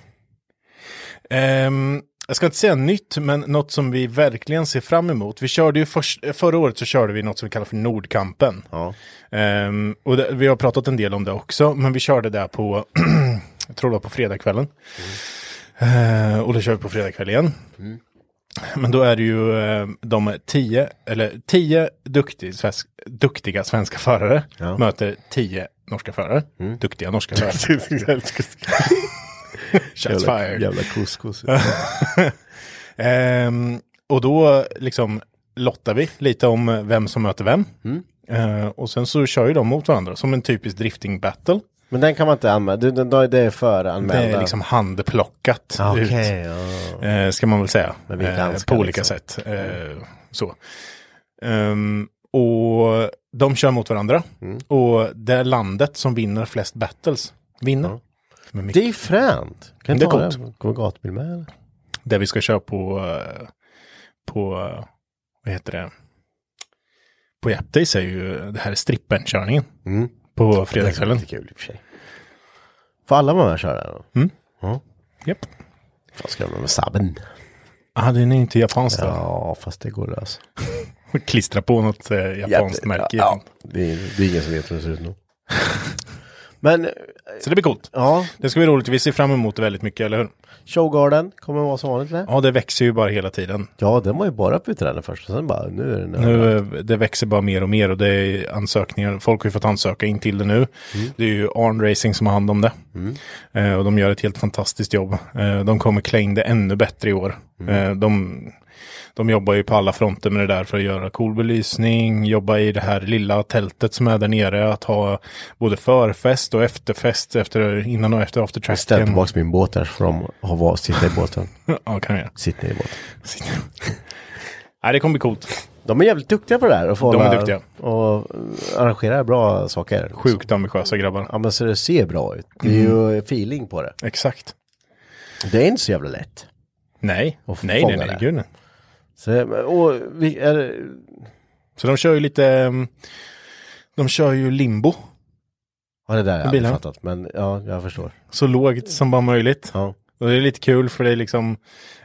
S3: Ehm, jag ska inte säga nytt, men något som vi verkligen ser fram emot. Vi körde ju först, förra året så körde vi något som vi kallar för Nordkampen.
S2: Ja.
S3: Ehm, och det, vi har pratat en del om det också, men vi körde det på, <clears throat> jag tror det var på fredagskvällen. Ehm, och då kör vi på fredagkväll igen.
S2: Mm.
S3: Men då är det ju eh, de tio, eller tio duktig, svensk, duktiga svenska förare möter tio norska förare.
S2: Mm. <laughs>
S3: Duktiga norska förare. <laughs> Shots fired.
S2: jävla couscous.
S3: Ehm, och då liksom lottar vi lite om vem som möter vem.
S2: Mm.
S3: Eh, och sen så kör ju de mot varandra som en typisk drifting battle.
S2: men den kan man inte anmäla. Du, den, det är föranmälda.
S3: Det är liksom handplockat
S2: Ah, Okej,
S3: ut,
S2: ja.
S3: eh, ska man väl säga.
S2: Men vi är
S3: Eh,
S2: danskar,
S3: på olika
S2: liksom.
S3: sätt. Eh, så. Ehm, Och de kör mot varandra.
S2: Mm.
S3: Och det landet som vinner flest battles vinner. Men mycket-
S2: Det är fränt. Kan
S3: Det
S2: du
S3: är
S2: ta
S3: coolt.
S2: det? Kommer gatbil med? eller?
S3: Det vi ska köra på, eh, på, eh, vad heter det? På Jap Days är ju det här strippenkörningen.
S2: Mm.
S3: På fredagskvällen.
S2: Det är kul i och för sig. Får alla vara med och köra? det här då?
S3: Japp.
S2: Mm. Vad ska de med sabben?
S3: Ah, den är ju inte japanskt då.
S2: Ja, fast det går lös.
S3: <laughs> Klistra på något eh, japanskt märke.
S2: Ja, det, är, det är ingen som vet hur det ser ut nu. <laughs> Men eh,
S3: Så det blir coolt.
S2: ja,
S3: Det ska bli roligt. Vi ser fram emot det väldigt mycket, eller hur?
S2: Showgarden kommer vara som vanligt eller?
S3: Ja, det växer ju bara hela tiden.
S2: Ja, den var ju bara på trenden först och sen bara nu är den överallt.
S3: Nu, eh, det växer bara mer och mer och det är ansökningar. Folk har ju fått ansöka in till det nu.
S2: Mm.
S3: Det är ju Arn Racing som har hand om det. Eh, och de gör ett helt fantastiskt jobb. Eh, de kommer claim det ännu bättre i år.
S2: Mm.
S3: Eh, de, de jobbar ju på alla fronter med det där för att göra cool belysning, jobba i det här lilla tältet som är där nere, att ha både förfest och efterfest efter, innan och efter
S2: Jag ställde
S3: aftertracken.
S2: tillbaka min båt där så får de ha var sitta i
S3: <laughs>
S2: båten.
S3: Ja, kan jag.
S2: Sitt ner i båten.
S3: Sitta. <laughs> Nej, det kommer bli coolt.
S2: De är jävligt duktiga på det där. Och får
S3: De är
S2: hålla-
S3: duktiga.
S2: Och eh, arrangerar bra saker.
S3: Sjukt Mm. ambitiösa grabbar.
S2: Ja men så det ser bra ut. Det är ju feeling på det.
S3: Exakt.
S2: Det är inte så jävla lätt.
S3: Nej,
S2: Och
S3: nej, nej,
S2: fånga
S3: nej,
S2: det.
S3: gud nej.
S2: Så, och vi, är, det-
S3: Så de kör ju lite, ehm, de kör ju limbo
S2: ja det där har jag aldrig
S3: bilarna.
S2: fattat. Men ja, jag förstår.
S3: så lågt som bara möjligt.
S2: Ja.
S3: Och det är lite kul för det är liksom,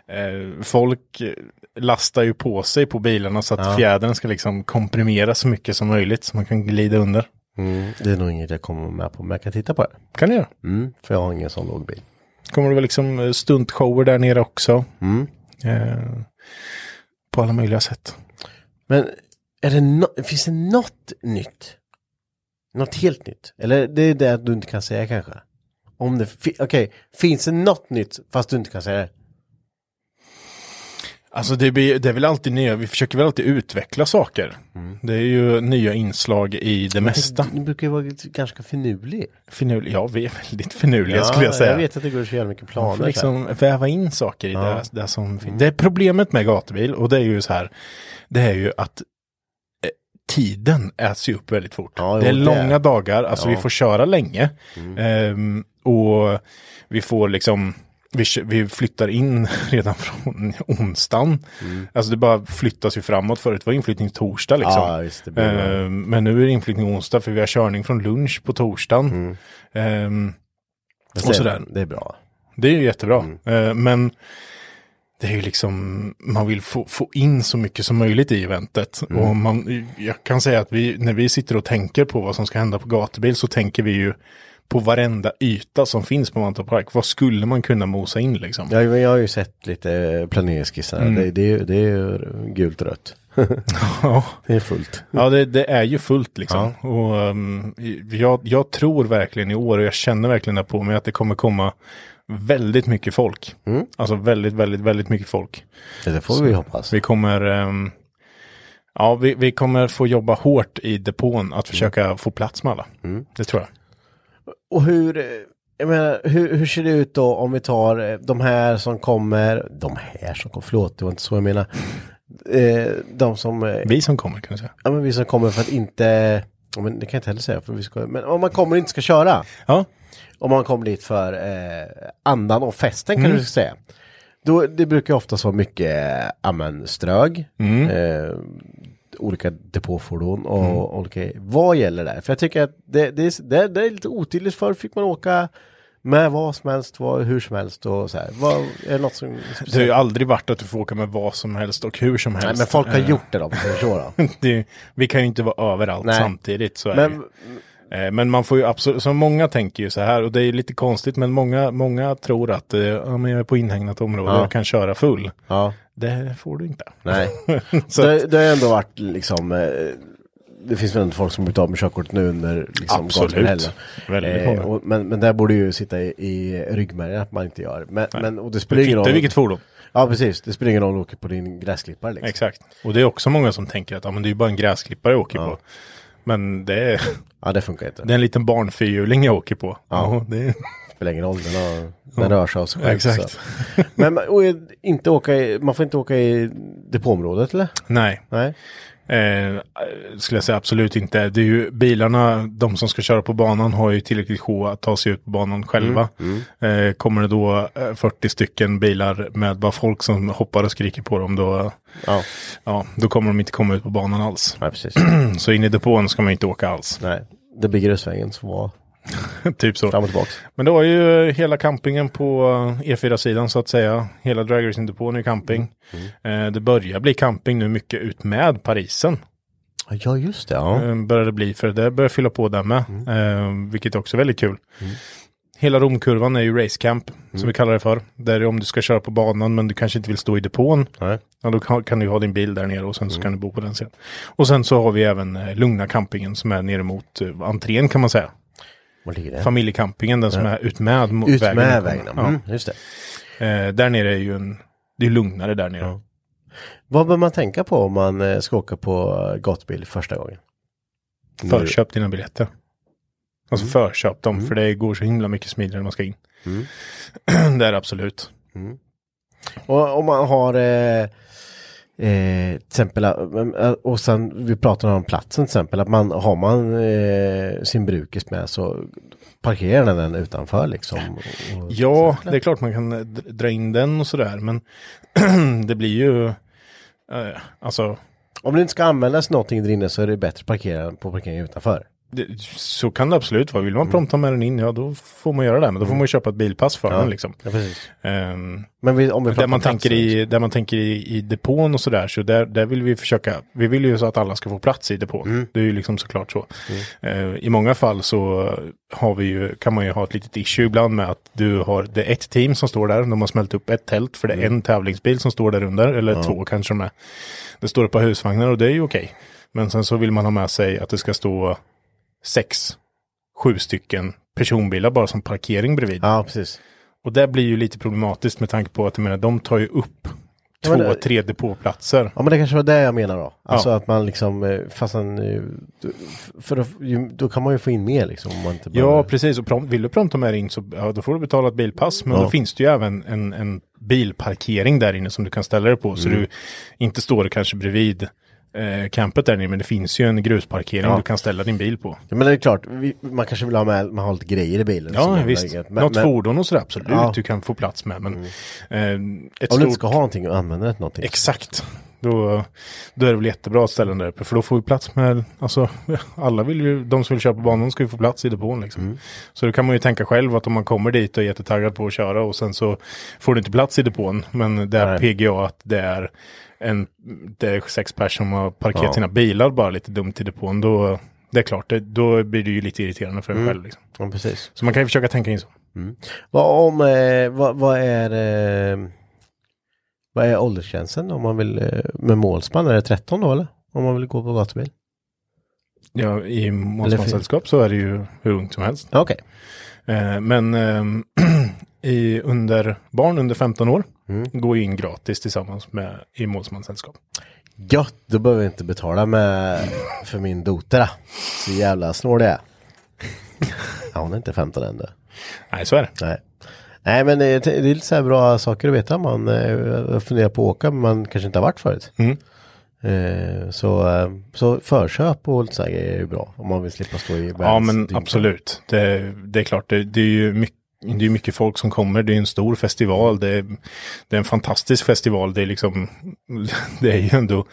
S3: eh, folk eh, lastar ju på sig på bilarna så att fjädern ska liksom komprimeras så mycket som möjligt så man kan glida under.
S2: Mm, det är nog inget jag kommer med på, men jag kan titta på det.
S3: Kan du göra.
S2: Mm, för jag har ingen sån låg bil.
S3: Kommer det vara liksom eh, stuntshower där nere också.
S2: Mm.
S3: Eh, på alla möjliga sätt.
S2: Men är det nå- finns det något nytt? Något helt nytt? Eller det är det att du inte kan säga kanske? Om det, fi- okej, finns det något nytt fast du inte kan säga det?
S3: Alltså det, blir, det är väl alltid nya, vi försöker väl alltid utveckla saker.
S2: Mm.
S3: Det är ju nya inslag i det mesta.
S2: Du brukar ju vara lite- ganska finurlig.
S3: Finurlig, ja vi är väldigt finurliga skulle jag säga.
S2: Jag vet att det går så jävla mycket
S3: Man får
S2: planer. så här. Mm.
S3: liksom väva in saker i det, det som finns. Det är problemet med gatubil och det är ju så här, det är ju att eh, tiden äts ju upp väldigt fort.
S2: Ja, jo,
S3: det är
S2: det. Mm.
S3: långa dagar, alltså vi får köra länge. Ehm, och vi får liksom, vi, kö- vi flyttar in <laughs> redan från onsdagen.
S2: Mm.
S3: Alltså det bara flyttas ju framåt, förut var inflyttning torsdag liksom.
S2: Ja, visst, det blir bra.
S3: Ehm, men nu är det inflyttning onsdag för vi har körning från lunch på torsdagen. Ehm, och sådär.
S2: Mm. Det är bra.
S3: Det är ju jättebra.
S2: Mm.
S3: Eh, Men det är ju liksom, man vill få, få in så mycket som möjligt i eventet.
S2: Mm.
S3: Och man, jag kan säga att vi, när vi sitter och tänker på vad som ska hända på gatubil så tänker vi ju på varenda yta som finns på Mantorp Park. Vad skulle man kunna mosa in liksom?
S2: Ja, men jag har ju sett lite planeringsskisser.
S3: Mm.
S2: Det, det, är ju- det är ju gult och rött.
S3: <laughs> Ja,
S2: Det är fullt.
S3: ja det, det är ju fullt liksom. Och, ehm, jag, jag tror verkligen i år och jag känner verkligen det på mig att det kommer komma väldigt mycket folk.
S2: Mm.
S3: Alltså väldigt, väldigt, väldigt mycket folk.
S2: Det får vi hoppas.
S3: Vi kommer, ehm, ja, vi, vi kommer få jobba hårt i depån
S2: Mm.
S3: att försöka få plats med alla. Det tror jag.
S2: Och hur, eh, jag menar, hur, hur ser det ut då om vi tar eh, de här som kommer, de här som kommer, förlåt det var inte så jag menar. Eh, De som, eh,
S3: Vi som kommer kan jag säga.
S2: ja men vi som kommer för att inte, ja, men det kan jag inte heller säga för vi ska, men om man kommer och inte ska köra.
S3: Ja,
S2: Om man kommer dit för eh, andan och festen
S3: Mm.
S2: kan du säga. Då, det brukar ju oftast vara mycket eh, ja, men strög,
S3: Mm.
S2: eh, olika depåfordon och olika, vad gäller det? här? För jag tycker att det, det, är, det, det är lite otydligt, förr fick man åka med vad som helst, vad, hur som helst och så här. Vad, är det något som...
S3: det har ju aldrig varit att du får åka med vad som helst och hur som helst.
S2: Nej men folk har
S3: Eh,
S2: gjort det då, om man säger så
S3: <laughs>
S2: då.
S3: det, är- vi kan ju inte vara överallt
S2: Nej.
S3: samtidigt. Så är det
S2: Men
S3: Eh, Men man får ju absolut, som många tänker ju så här, och det är lite konstigt, men många, många tror att eh, ja, men jag är på inhägnat område och kan köra full.
S2: ja,
S3: Det får du inte.
S2: nej.
S3: <laughs> så
S2: det, det har ju ändå varit liksom, eh, det finns väl ändå folk som blivit av med körkortet nu under liksom
S3: Absolut.
S2: gatuhelgen.
S3: Väldigt många.
S2: Eh, och, men, men där borde ju sitta i, i ryggmärgen att man inte gör. Men, men och det spelar ingen
S3: det är
S2: roll.
S3: vilket fordon.
S2: Ja precis, det spelar ingen roll om du åker på din gräsklippare liksom.
S3: Exakt. Och det är också många som tänker att ja, men det är ju bara en gräsklippare jag åker på. Men det är,
S2: Ja det funkar inte.
S3: det är en liten barnfyrhjuling jag åker på. Ja, det är,
S2: Det spelar ingen roll, den, har, den rör sig av sig själv.
S3: Exakt.
S2: Så. Men man- och, eh, inte åka i, man får inte åka i depåområdet eller?
S3: nej.
S2: Nej.
S3: Eh, skulle jag säga absolut inte. Det är ju bilarna, de som ska köra på banan har ju tillräckligt sjå att ta sig ut på banan själva.
S2: Mm,
S3: Eh, kommer det då eh, 40 stycken bilar med bara folk som hoppar och skriker på dem då,
S2: Ja,
S3: ja, då kommer de inte komma ut på banan alls.
S2: nej, precis.
S3: <clears throat> Så in i depån ska man inte åka alls.
S2: nej, det blir grusvägen som var
S3: <laughs> typ så.
S2: fram och tillbaka.
S3: Men det var ju hela campingen på E4-sidan så att säga. Hela dragracing-depån är ju camping.
S2: Mm,
S3: Eh, det börjar bli camping nu mycket ut med Parisen.
S2: Ja, just det. Ja. Mm.
S3: Eh, börjar det bli för det börjar fylla på där med. Eh, vilket är också väldigt kul. Hela Romkurvan är ju racecamp
S2: Mm.
S3: som vi kallar det för. Där är om du ska köra på banan men du kanske inte vill stå i depån.
S2: Nej. Mm.
S3: Ja, då kan, kan du ha din bil där nere och sen så kan du bo på den sidan. Och sen så har vi även eh, Lugna campingen som är nere mot eh, entrén kan man säga.
S2: Var ligger det?
S3: Familjecampingen, den som är utmed mot
S2: Ut
S3: vägen.
S2: med vägen. Mm,
S3: Ja.
S2: just det.
S3: Eh, där nere är ju en, det är lugnare där nere.
S2: Vad bör man tänka på om man eh, ska åka på eh, gatubil första gången?
S3: Förköp dina biljetter. Alltså
S2: Mm.
S3: förköp dem, för det går så himla mycket smidigare när man ska in.
S2: Mm.
S3: <clears throat> det är det absolut.
S2: Och om man har eh, eh, till exempel, eh, och sen vi pratade om platsen till exempel, att man, har man eh, sin brukis med så parkerar den den utanför liksom. Och, och,
S3: Ja, det är klart man kan eh, dr- dra in den och sådär, men <clears throat> det blir ju... Eh, alltså,
S2: Om det inte ska användas någonting där inne så är det bättre att parkera på parkeringen utanför.
S3: det, så kan det absolut vara. Vill
S2: Mm.
S3: man prompta med den in, ja då får man göra det. Men då får man ju köpa ett bilpass för den liksom.
S2: Ja, precis.
S3: Ehm,
S2: Men vi, om vi pratar
S3: Där man,
S2: om platsen liksom.
S3: tänker i, där man tänker i, i depån och sådär, så där, där vill vi försöka, vi vill ju så att alla ska få plats i depån.
S2: Mm.
S3: Det är ju liksom såklart så. Eh, I många fall så har vi ju, kan man ju ha ett litet issue ibland med att du har, det är ett team som står där, de har smält upp ett tält för det är
S2: Mm.
S3: en tävlingsbil som står där under, eller två kanske de är. Det står ett par husvagnar och det är ju okej. Men sen så vill man ha med sig att det ska stå sex, sju stycken personbilar bara som parkering bredvid.
S2: Ja, precis.
S3: Och det blir ju lite problematiskt med tanke på att jag menar, de tar ju upp
S2: men
S3: två,
S2: det-
S3: tre depåplatser.
S2: Ja men det kanske var det jag menar då. Alltså
S3: Ja.
S2: att man liksom, eh, fast man, eh, du- för då, ju- då kan man ju få in mer liksom om man inte
S3: Ja, precis. Och prom- vill du prompta med dig in så ja, då får du betala ett bilpass. Men
S2: Ja.
S3: då finns det ju även en, en bilparkering där inne som du kan ställa dig på. Så
S2: Mm.
S3: du inte står kanske bredvid eh, campet där inne. Men det finns ju en grusparkering
S2: Ja.
S3: du kan ställa din bil på.
S2: Ja, men det är klart, vi, man kanske vill ha med, man har lite grejer i bilen. som
S3: Ja,
S2: är
S3: visst.
S2: läget.
S3: Något fordon och sådär, absolut.
S2: Ja. Mm.
S3: Du kan få plats med. Men eh, ett
S2: Om du
S3: stort...
S2: inte ska ha någonting och använda det till
S3: Typ.
S2: någonting.
S3: Exakt. Då, då är det väl jättebra att ställa den där uppe. För då får vi plats med, alltså alla vill ju, de som vill köra på banan ska ju få plats i depån liksom. Så då kan man ju tänka själv att om man kommer dit och är jättetaggad på att köra och sen så får du inte plats i depån. Men det är PGA att det är en, det är sex personer som har parkerat
S2: Ja.
S3: sina bilar bara lite dumt i depån. Då, det är klart, det, då blir det ju lite irriterande för en själv liksom.
S2: Ja, precis.
S3: Så man kan ju försöka tänka in så.
S2: Vad om, eh, vad, vad är, eh, vad är åldersgränsen om man vill, eh, med målsman, är det 13 då eller? Om man vill gå på gatubil?
S3: Ja, i
S2: fint.
S3: målsmanssällskap så är det ju hur ungt som helst.
S2: Ja, Okej.
S3: Eh, <clears throat> men ehm, i, under, barn under 15 år går ju in gratis tillsammans med i målsmanssällskap.
S2: Gött, då behöver jag inte betala med, för min doter. Så jävla snål det <laughs> är. Ja, hon är inte 15 än du.
S3: Nej, så är det.
S2: Nej. Nej men det är, det är lite så här bra saker att veta om man eh, funderar på att åka men man kanske inte har varit förut.
S3: Mm.
S2: Eh, så, eh, så förköp och lite så här grejer är ju bra om man vill slippa stå i
S3: ja,
S2: världens
S3: men
S2: dygn.
S3: absolut. Det, det är klart, det, det är ju mycket det är mycket folk som kommer, det är en stor festival, det är, det är en fantastisk festival, det är liksom, <laughs> det är ju ändå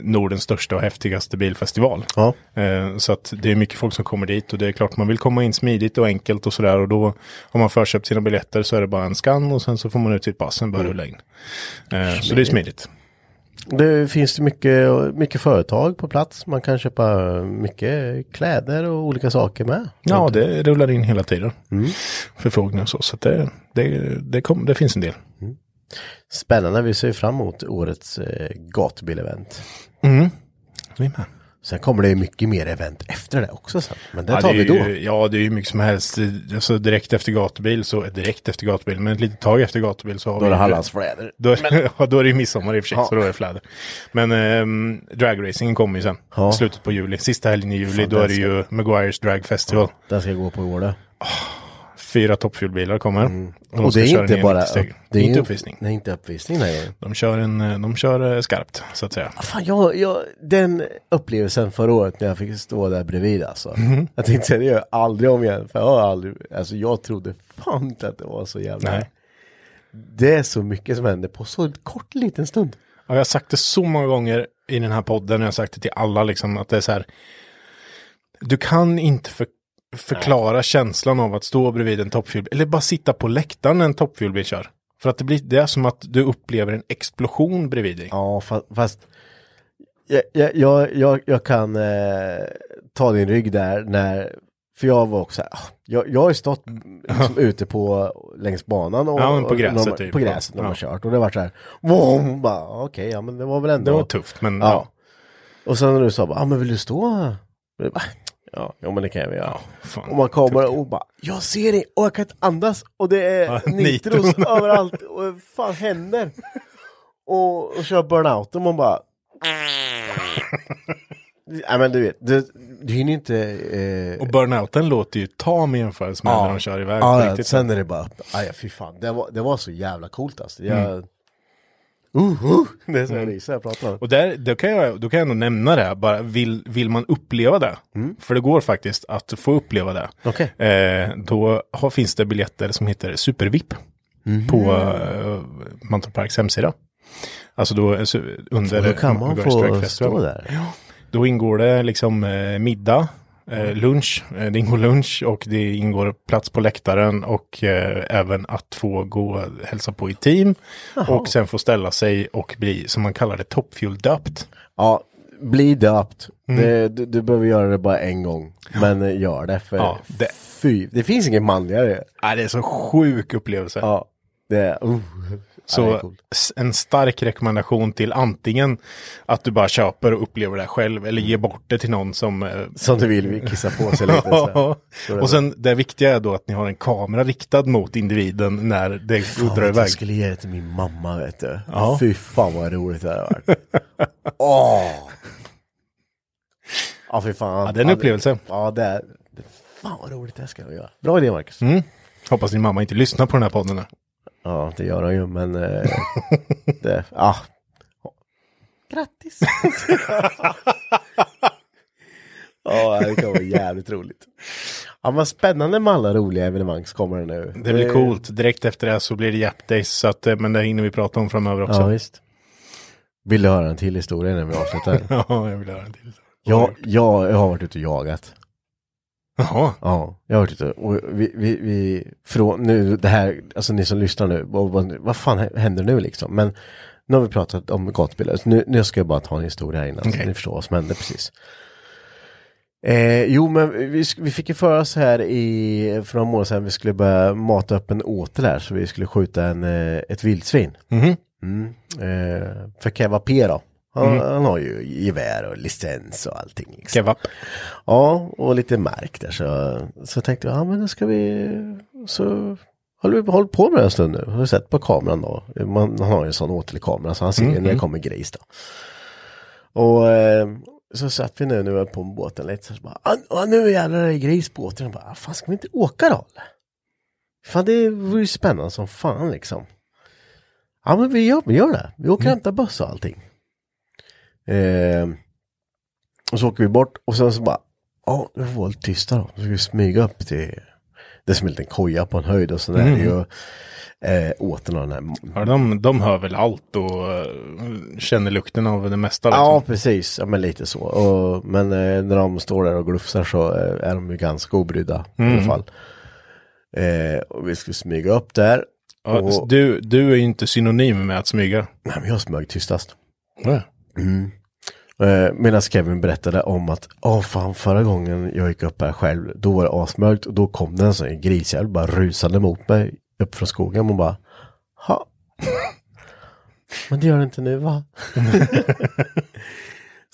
S3: Nordens största och häftigaste bilfestival.
S2: Ja.
S3: Eh, Så att det är mycket folk som kommer dit och det är klart man vill komma in smidigt och enkelt och sådär och då har man förköpt sina biljetter så är det bara en skann och sen så får man ut sitt pass, sen börjar rulla in. Eh, Så det är Mm. smidigt.
S2: Det finns det mycket, mycket företag på plats. Man kan köpa mycket kläder och olika saker med.
S3: Ja, det Mm. rullar in hela tiden. Förfrågningar och så, så att det, det, det, kom, det finns en del.
S2: Spännande, vi ser fram emot årets eh, gatubilevent.
S3: Vi är med.
S2: Sen kommer det ju mycket mer event efter det också sen. Men det
S3: Ja,
S2: tar
S3: det
S2: vi
S3: är
S2: då.
S3: Ju, ja, det är ju mycket som helst. Alltså direkt efter gatubil så, direkt efter gatubil, men ett litet tag efter gatubil så
S2: Då
S3: har
S2: är
S3: vi...
S2: det Hallandsfläder.
S3: Då, <laughs> ja, då är det ju midsommar i och för sig, så då är det fläder. Men ehm, dragracingen kommer ju sen,
S2: Ja.
S3: i slutet på juli. Sista helgen i juli, då är det ju Maguires Drag Festival.
S2: Den ska jag gå på i år då.
S3: Fyra toppfulbilar kommer. de
S2: Mm. Och
S3: ska
S2: det är
S3: köra
S2: inte
S3: ner
S2: bara...
S3: 90 steg.
S2: det är
S3: inte
S2: ju-
S3: uppvisning.
S2: Nej, inte uppvisning den här gången.
S3: De kör, en, eh, de kör eh, skarpt, så att säga.
S2: Fan, jag, jag, den upplevelsen förra året när jag fick stå där bredvid alltså.
S3: Mhm.
S2: Jag tänkte säga, det gör jag aldrig om igen. För jag, har aldrig, alltså, jag trodde fan inte att det var så jävla...
S3: Nej.
S2: Det är så mycket som händer på så kort liten stund.
S3: Ja, jag har sagt det så många gånger i den här podden, och jag har sagt det till alla, liksom, att det är så här. Du kan inte för, förklara känslan av att stå bredvid en toppfjulbil, eller bara sitta på läktaren när en toppfjulbil kör. För att det blir det är som att du upplever en explosion bredvid dig.
S2: Ja, fast... fast jag, jag, jag, jag, jag kan eh, ta din rygg där när... För jag var också... ah, Jag, jag har ju stått liksom, ute på längs banan och...
S3: Ja, men på
S2: och-
S3: gräset
S2: när man-
S3: typ.
S2: På gräset när man
S3: Ja.
S2: kört. Och det har varit så här... Wow, bara, Okej, ja men det var väl ändå...
S3: Det var tufft, men
S2: Ja.
S3: ja.
S2: Och sen när du sa bara, ah, men vill du stå? Jag bara, Ja, jo, men det kan jag väl göra.
S3: fan,
S2: och man kommer
S3: tufft.
S2: och bara, jag ser dig och jag kan inte andas och det
S3: Ja, <laughs>
S2: är nitros
S3: nitros.
S2: överallt och vad fan händer? och, och kör burnout och man bara... Nej men du vet, du, du hinner inte... Eh,
S3: Och burnouten låter ju tam i jämförelse med när de kör iväg.
S2: Ja,
S3: riktigt. <laughs>
S2: sen är det bara, aj fy fan, det var, det var så jävla coolt alltså. Jag,
S3: Mm.
S2: uh, uh, det är så jag ryser när jag pratar om det.
S3: Och där, då, kan jag, då kan jag nog nämna det, här, bara vill, vill man uppleva det, för det går faktiskt att få uppleva det,
S2: Okej.
S3: eh, då har, finns det biljetter som heter Super-VIP
S2: Mhm.
S3: på eh, Mantorp Parks hemsida. Alltså då eh, su- under...
S2: Då kan man
S3: Montgomery Strike
S2: få
S3: Festival.
S2: stå där.
S3: Då ingår det liksom eh, middag,
S2: Mm.
S3: eh, lunch, eh, det ingår lunch och det ingår plats på läktaren och eh, även att få gå och hälsa på i team och sen få ställa sig och bli, som man kallar det, toppfuel-döpt.
S2: Ja, bli döpt.
S3: Mm.
S2: Det, du, du behöver göra det bara en gång. Men eh, gör det för
S3: Ja, det-
S2: fy. Det finns ingen manligare.
S3: Ja, Äh, det är så sjuk upplevelse.
S2: Ja, det är... Uh.
S3: så
S2: Ja, det är coolt.
S3: s- en stark rekommendation till antingen att du bara köper och upplever det själv eller ger bort det till någon som... eh,
S2: Som du vill, vi kissar på sig lite.
S3: <laughs>
S2: Så. här. Så det
S3: och sen det viktiga är då att ni har en kamera riktad mot individen när det
S2: Fan,
S3: drar
S2: vet du,
S3: iväg.
S2: jag skulle ge det till min mamma vet du.
S3: Ja.
S2: Fy fan vad roligt det hade varit.
S3: <laughs>
S2: Åh! Ja, fy fan.
S3: Ja, det är en
S2: Ja,
S3: upplevelse.
S2: Ja, det är... Fan vad roligt det ska jag göra. Bra idé Marcus.
S3: Hoppas din mamma inte lyssnar på den här podden. nu.
S2: Ja, det gör hon ju, men... <laughs> Eh, det, ah. Grattis! <laughs> Ja, det kan vara jävligt roligt. Ja, vad spännande med alla roliga evenemang som kommer nu. Eh,
S3: Det blir coolt. Direkt efter det här så blir det Jap Days, så att, eh, men det hinner vi prata om framöver också.
S2: Ja,
S3: Ja,
S2: visst. Vill du höra en till historia när vi <laughs>
S3: <laughs>
S2: avslutar?
S3: jag vill höra en till.
S2: jag, jag, jag har varit ute och jagat.
S3: Jaha,
S2: Ja, jag har varit ute och vi, vi, vi från nu det här, alltså ni som lyssnar nu, vad, vad, vad fan händer nu liksom? Men nu har vi pratat om gatubilar, så nu, nu ska jag bara ta en historia här innan
S3: Okej.
S2: så ni förstår vad som hände precis. Eh, jo, men vi, sk- vi fick ju för oss här i, för några månader sedan, vi skulle börja mata upp en åtel här, så vi skulle skjuta en, eh, ett vildsvin. Mm. Eh, för Keva P då, han, han har ju gevär och licens och allting. Liksom.
S3: kebab.
S2: Ja, och lite mark där så, så tänkte jag, ja men då ska vi, så håller vi håller på med det en stund nu. Har du sett på kameran då? Man, han har ju en sån åtelkamera så han ser ju när det kommer gris då. Och eh, så satt vi nu, nu var på båten lite så, så bara, "Ah, ah, nu jävlar är det gris på båten. Jag bara, "Ah, fan ska vi inte åka då eller? Fan det vore ju spännande som fan liksom. Ja men vi gör, vi gör det, vi åker och hämtar buss och allting. Ehm, och så åker vi bort och sen så bara, ja, nu får vi vara lite tysta då. Så ska vi smyga upp till, det är som en liten koja på en höjd och sen är det ju eh, återn av den här.
S3: Ja, de, de hör väl allt och eh, känner lukten av det mesta. Liksom.
S2: Ja, precis. Ja, men lite så. Och, men eh, när de står där och glufsar så eh, är de ju ganska obrydda i alla fall. Eh, och vi skulle smyga upp där.
S3: Ja,
S2: och,
S3: så du, du är ju inte synonym med att smyga.
S2: nej, men jag smög tystast.
S3: Ja.
S2: Eh, Medan Kevin berättade om att, åh fan förra gången jag gick upp här själv, då var det asmörkt och då kom det en sån här grisjävel bara rusande mot mig upp från skogen och bara, ha. <laughs> Men det gör det inte nu va? <laughs>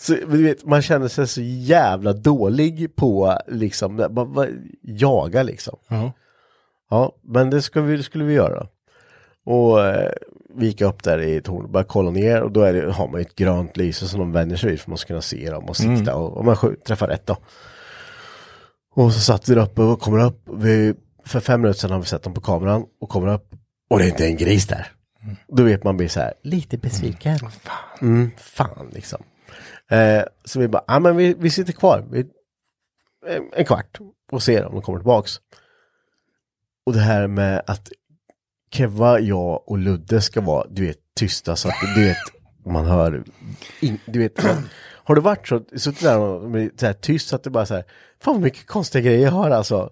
S2: så, men du vet, man känner sig så jävla dålig på liksom, va, va, jaga liksom.
S3: Ja.
S2: Ja, men det ska vi, det skulle vi göra. Och eh, vi gick upp där i tornet och började kolla ner och då är det, har man ju ett grönt lyse som de vänder sig vid för man ska kunna se dem och sikta och om man skjut- träffar rätt då. Och så satt vi där uppe och kommer upp. Vi för fem minuter sedan har vi sett dem på kameran och kommer upp och det är inte en gris där. Då vet man blir så här, lite besviken. Mm, fan liksom. Eh, så vi bara, ja men vi, vi sitter kvar vi, en- en kvart och ser om de kommer tillbaks. Och det här med att Keva, jag och Ludde ska vara, du vet, tysta så att du vet, man hör, in, du vet, så- har du varit så, suttit där och blivit så här tyst så att det bara så här, fan vad mycket konstiga grejer jag hör alltså.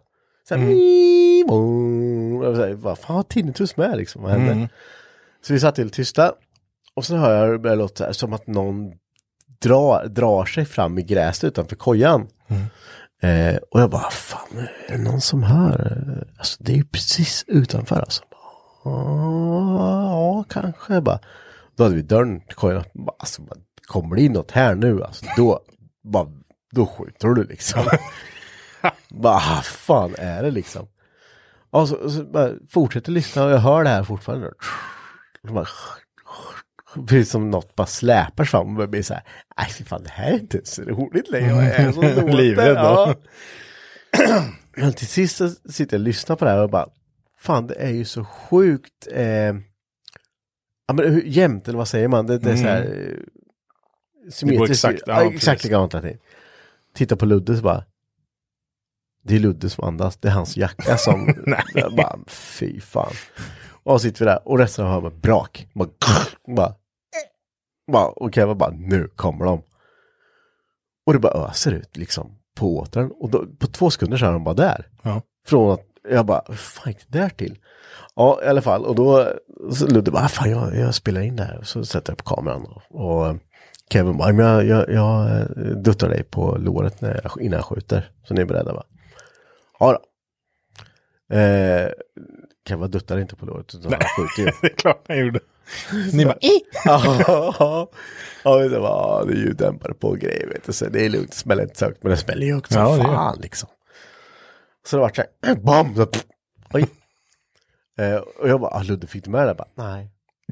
S2: Så här, mm. och så här, bara, fan vad tinnitus med liksom, vad händer? Så vi satt helt tysta och så hör jag det börjar låta så här, som att någon drar, drar sig fram i gräset utanför kojan. Eh, och jag bara, fan, är det någon som hör? Alltså det är ju precis utanför alltså. "Ah, Ja, kanske. Jag bara, då hade vi dörren till kojan. öppen. Bara, Alltså, bara, kommer det in något här nu, alltså, då, bara, då skjuter du liksom. bara, "Ah, fan är det liksom? Och så, och så bara, fortsätter lyssna och jag hör det här fortfarande. Och bara, Precis som något bara släpar fram och börjar bli så här, nej fy fan det här är inte så roligt längre. Vad är det som låter?"
S3: Livrädd då.
S2: Ja. <clears throat> Men till sist så sitter jag och lyssnar på det här och bara, fan det är ju så sjukt eh, ja, men hur, jämnt, eller vad säger man? Det, det är så här eh, symmetriskt.
S3: exakt, ja,
S2: ja, exakt
S3: precis.
S2: likadant allting. Titta på Ludde så bara, det är Ludde som andas, det är hans jacka
S3: <laughs>
S2: som, jag bara, fy fan. Och så sitter vi där och resten av hör bara brak, bara, bara, bara och Kevin bara, nu kommer de. Och det bara öser ut liksom på återn. Och då, på två sekunder så är de bara där.
S3: Ja.
S2: Från att jag bara, hur fan gick det där till? Ja, i alla fall. Och då, så Ludde bara, "Ah, fan jag, jag spelar in det här. Och så sätter jag på kameran. Och, och Kevin bara, "Men jag, jag, jag eh, duttar dig på låret när jag, innan jag skjuter. Så ni är beredda va? Ja då. Eh, Kevin duttar inte på låret utan han skjuter ju.
S3: <laughs> Det är klart han gjorde. Ni bara, "Ih."
S2: ja, ja, men det var ja, det är ljuddämpare på och grejer, vet du. Så det är lugnt, det smäller inte så högt, men det smäller ju högt som
S3: Ja, det gör
S2: fan liksom. Så det vart så här, <clears throat> bam, så, pff, oj. Eh, och jag bara, ah, Ludde, fick du med det? Jag bara, nej.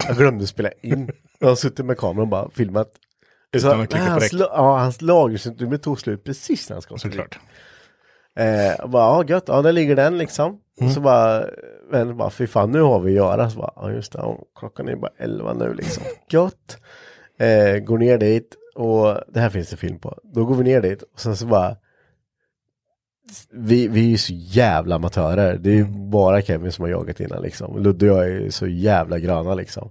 S2: Jag glömde spela in. Jag har suttit med kameran och bara filmat.
S3: Utan att klicka på
S2: hans,
S3: räck.
S2: la- ja, hans lagringsutrymme tog slut precis när han ska
S3: såklart.
S2: Eh, och bara, ja gött, ja där ligger den liksom.
S3: Mm.
S2: Och så bara, vännen bara, fy fan nu har vi att göra. Så bara, ja just det, ja, klockan är bara 11 nu
S3: <laughs>
S2: liksom. Gött. Eh, går ner dit och det här finns det film på. Då går vi ner dit och sen så bara, vi, vi är ju så jävla amatörer. Det är ju
S3: Mm.
S2: bara Kevin som har jagat innan liksom. Ludde och jag är ju så jävla gröna liksom.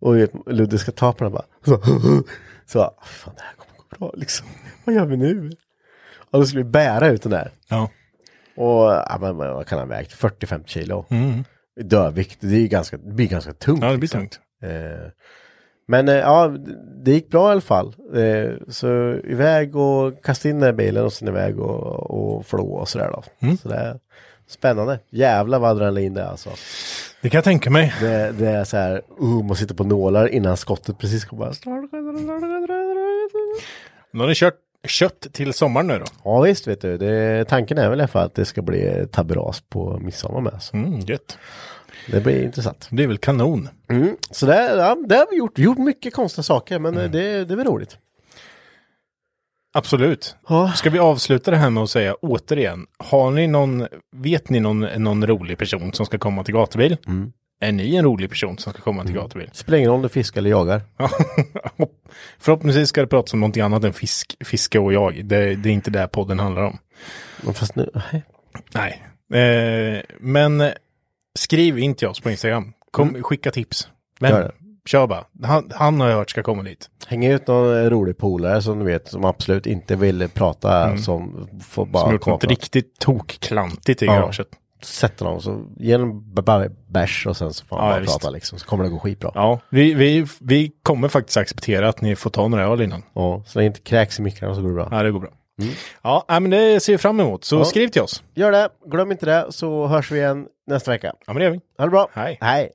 S2: Och du vet, Ludde ska ta på den bara. Så, <laughs> så "Ah, fan det här kommer gå bra liksom. Vad gör vi nu? Och då skulle vi bära ut den där.
S3: Ja.
S2: Och ja, men, men, vad kan han ha vägt? 45 kilo. Dövvikt, det, är ju ganska, det blir ganska tungt.
S3: Mm. ja, det blir tungt.
S2: Eh, men eh, ja, det gick bra i alla fall. Eh, så iväg och kasta in den här bilen och sen iväg och, och flå och sådär då. Så det är spännande. Jävlar vad adrenalin det är alltså.
S3: Det kan jag tänka mig.
S2: Det, det är så här, uh, man sitter på nålar innan skottet precis kommer. bara-
S3: Nu har ni kört kött till sommaren nu då.
S2: Ja visst vet du, det, tanken är väl i alla fall att det ska bli taberas på midsommar med. Så
S3: Mm, gött.
S2: det blir intressant.
S3: Det är väl kanon.
S2: Så det, ja, det har vi gjort, gjort mycket konstiga saker men eh, det, det är väl roligt.
S3: Absolut.
S2: Ja.
S3: Ska vi avsluta det här med att säga återigen, har ni någon, vet ni någon, någon rolig person som ska komma till gatubil? Är ni en rolig person som ska komma till gatubil?
S2: Spelar ingen roll om du fiskar eller jagar.
S3: Hopp- <laughs> Förhoppningsvis ska det pratas om någonting annat än fisk, fiske och jag. Det, det är inte det podden handlar om.
S2: Men Fast nu, nej.
S3: Nej. Eh, men skriv in till oss på Instagram. Kom, Skicka tips. Men,
S2: Gör det.
S3: Kör bara. Han, han har jag hört ska komma dit.
S2: Häng ut någon eh, rolig polare som du vet som absolut inte vill prata som får bara
S3: Mm. Som gjort något
S2: kapa.
S3: riktigt tokklantigt i
S2: Ja.
S3: garaget.
S2: Sätter dem så ge en b- b- bärs och sen så får han
S3: Ja,
S2: bara
S3: visst.
S2: prata liksom. Så kommer det gå skitbra. Ja.
S3: Ja, vi, vi, vi kommer faktiskt acceptera att ni får ta några öl innan.
S2: så länge det inte kräks i mikrarna så går det bra.
S3: Ja, det går bra. Ja, nej, men det ser vi fram emot. Så skriv till oss.
S2: Gör det, glöm inte det så hörs vi igen nästa vecka.
S3: Ja, men det gör vi.
S2: Ha det bra.
S3: Hej.
S2: Hej.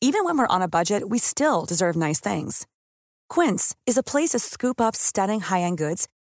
S6: Even when we're on a budget, we still deserve nice things. Quince is a place to scoop up stunning high end goods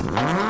S7: Mm-hmm.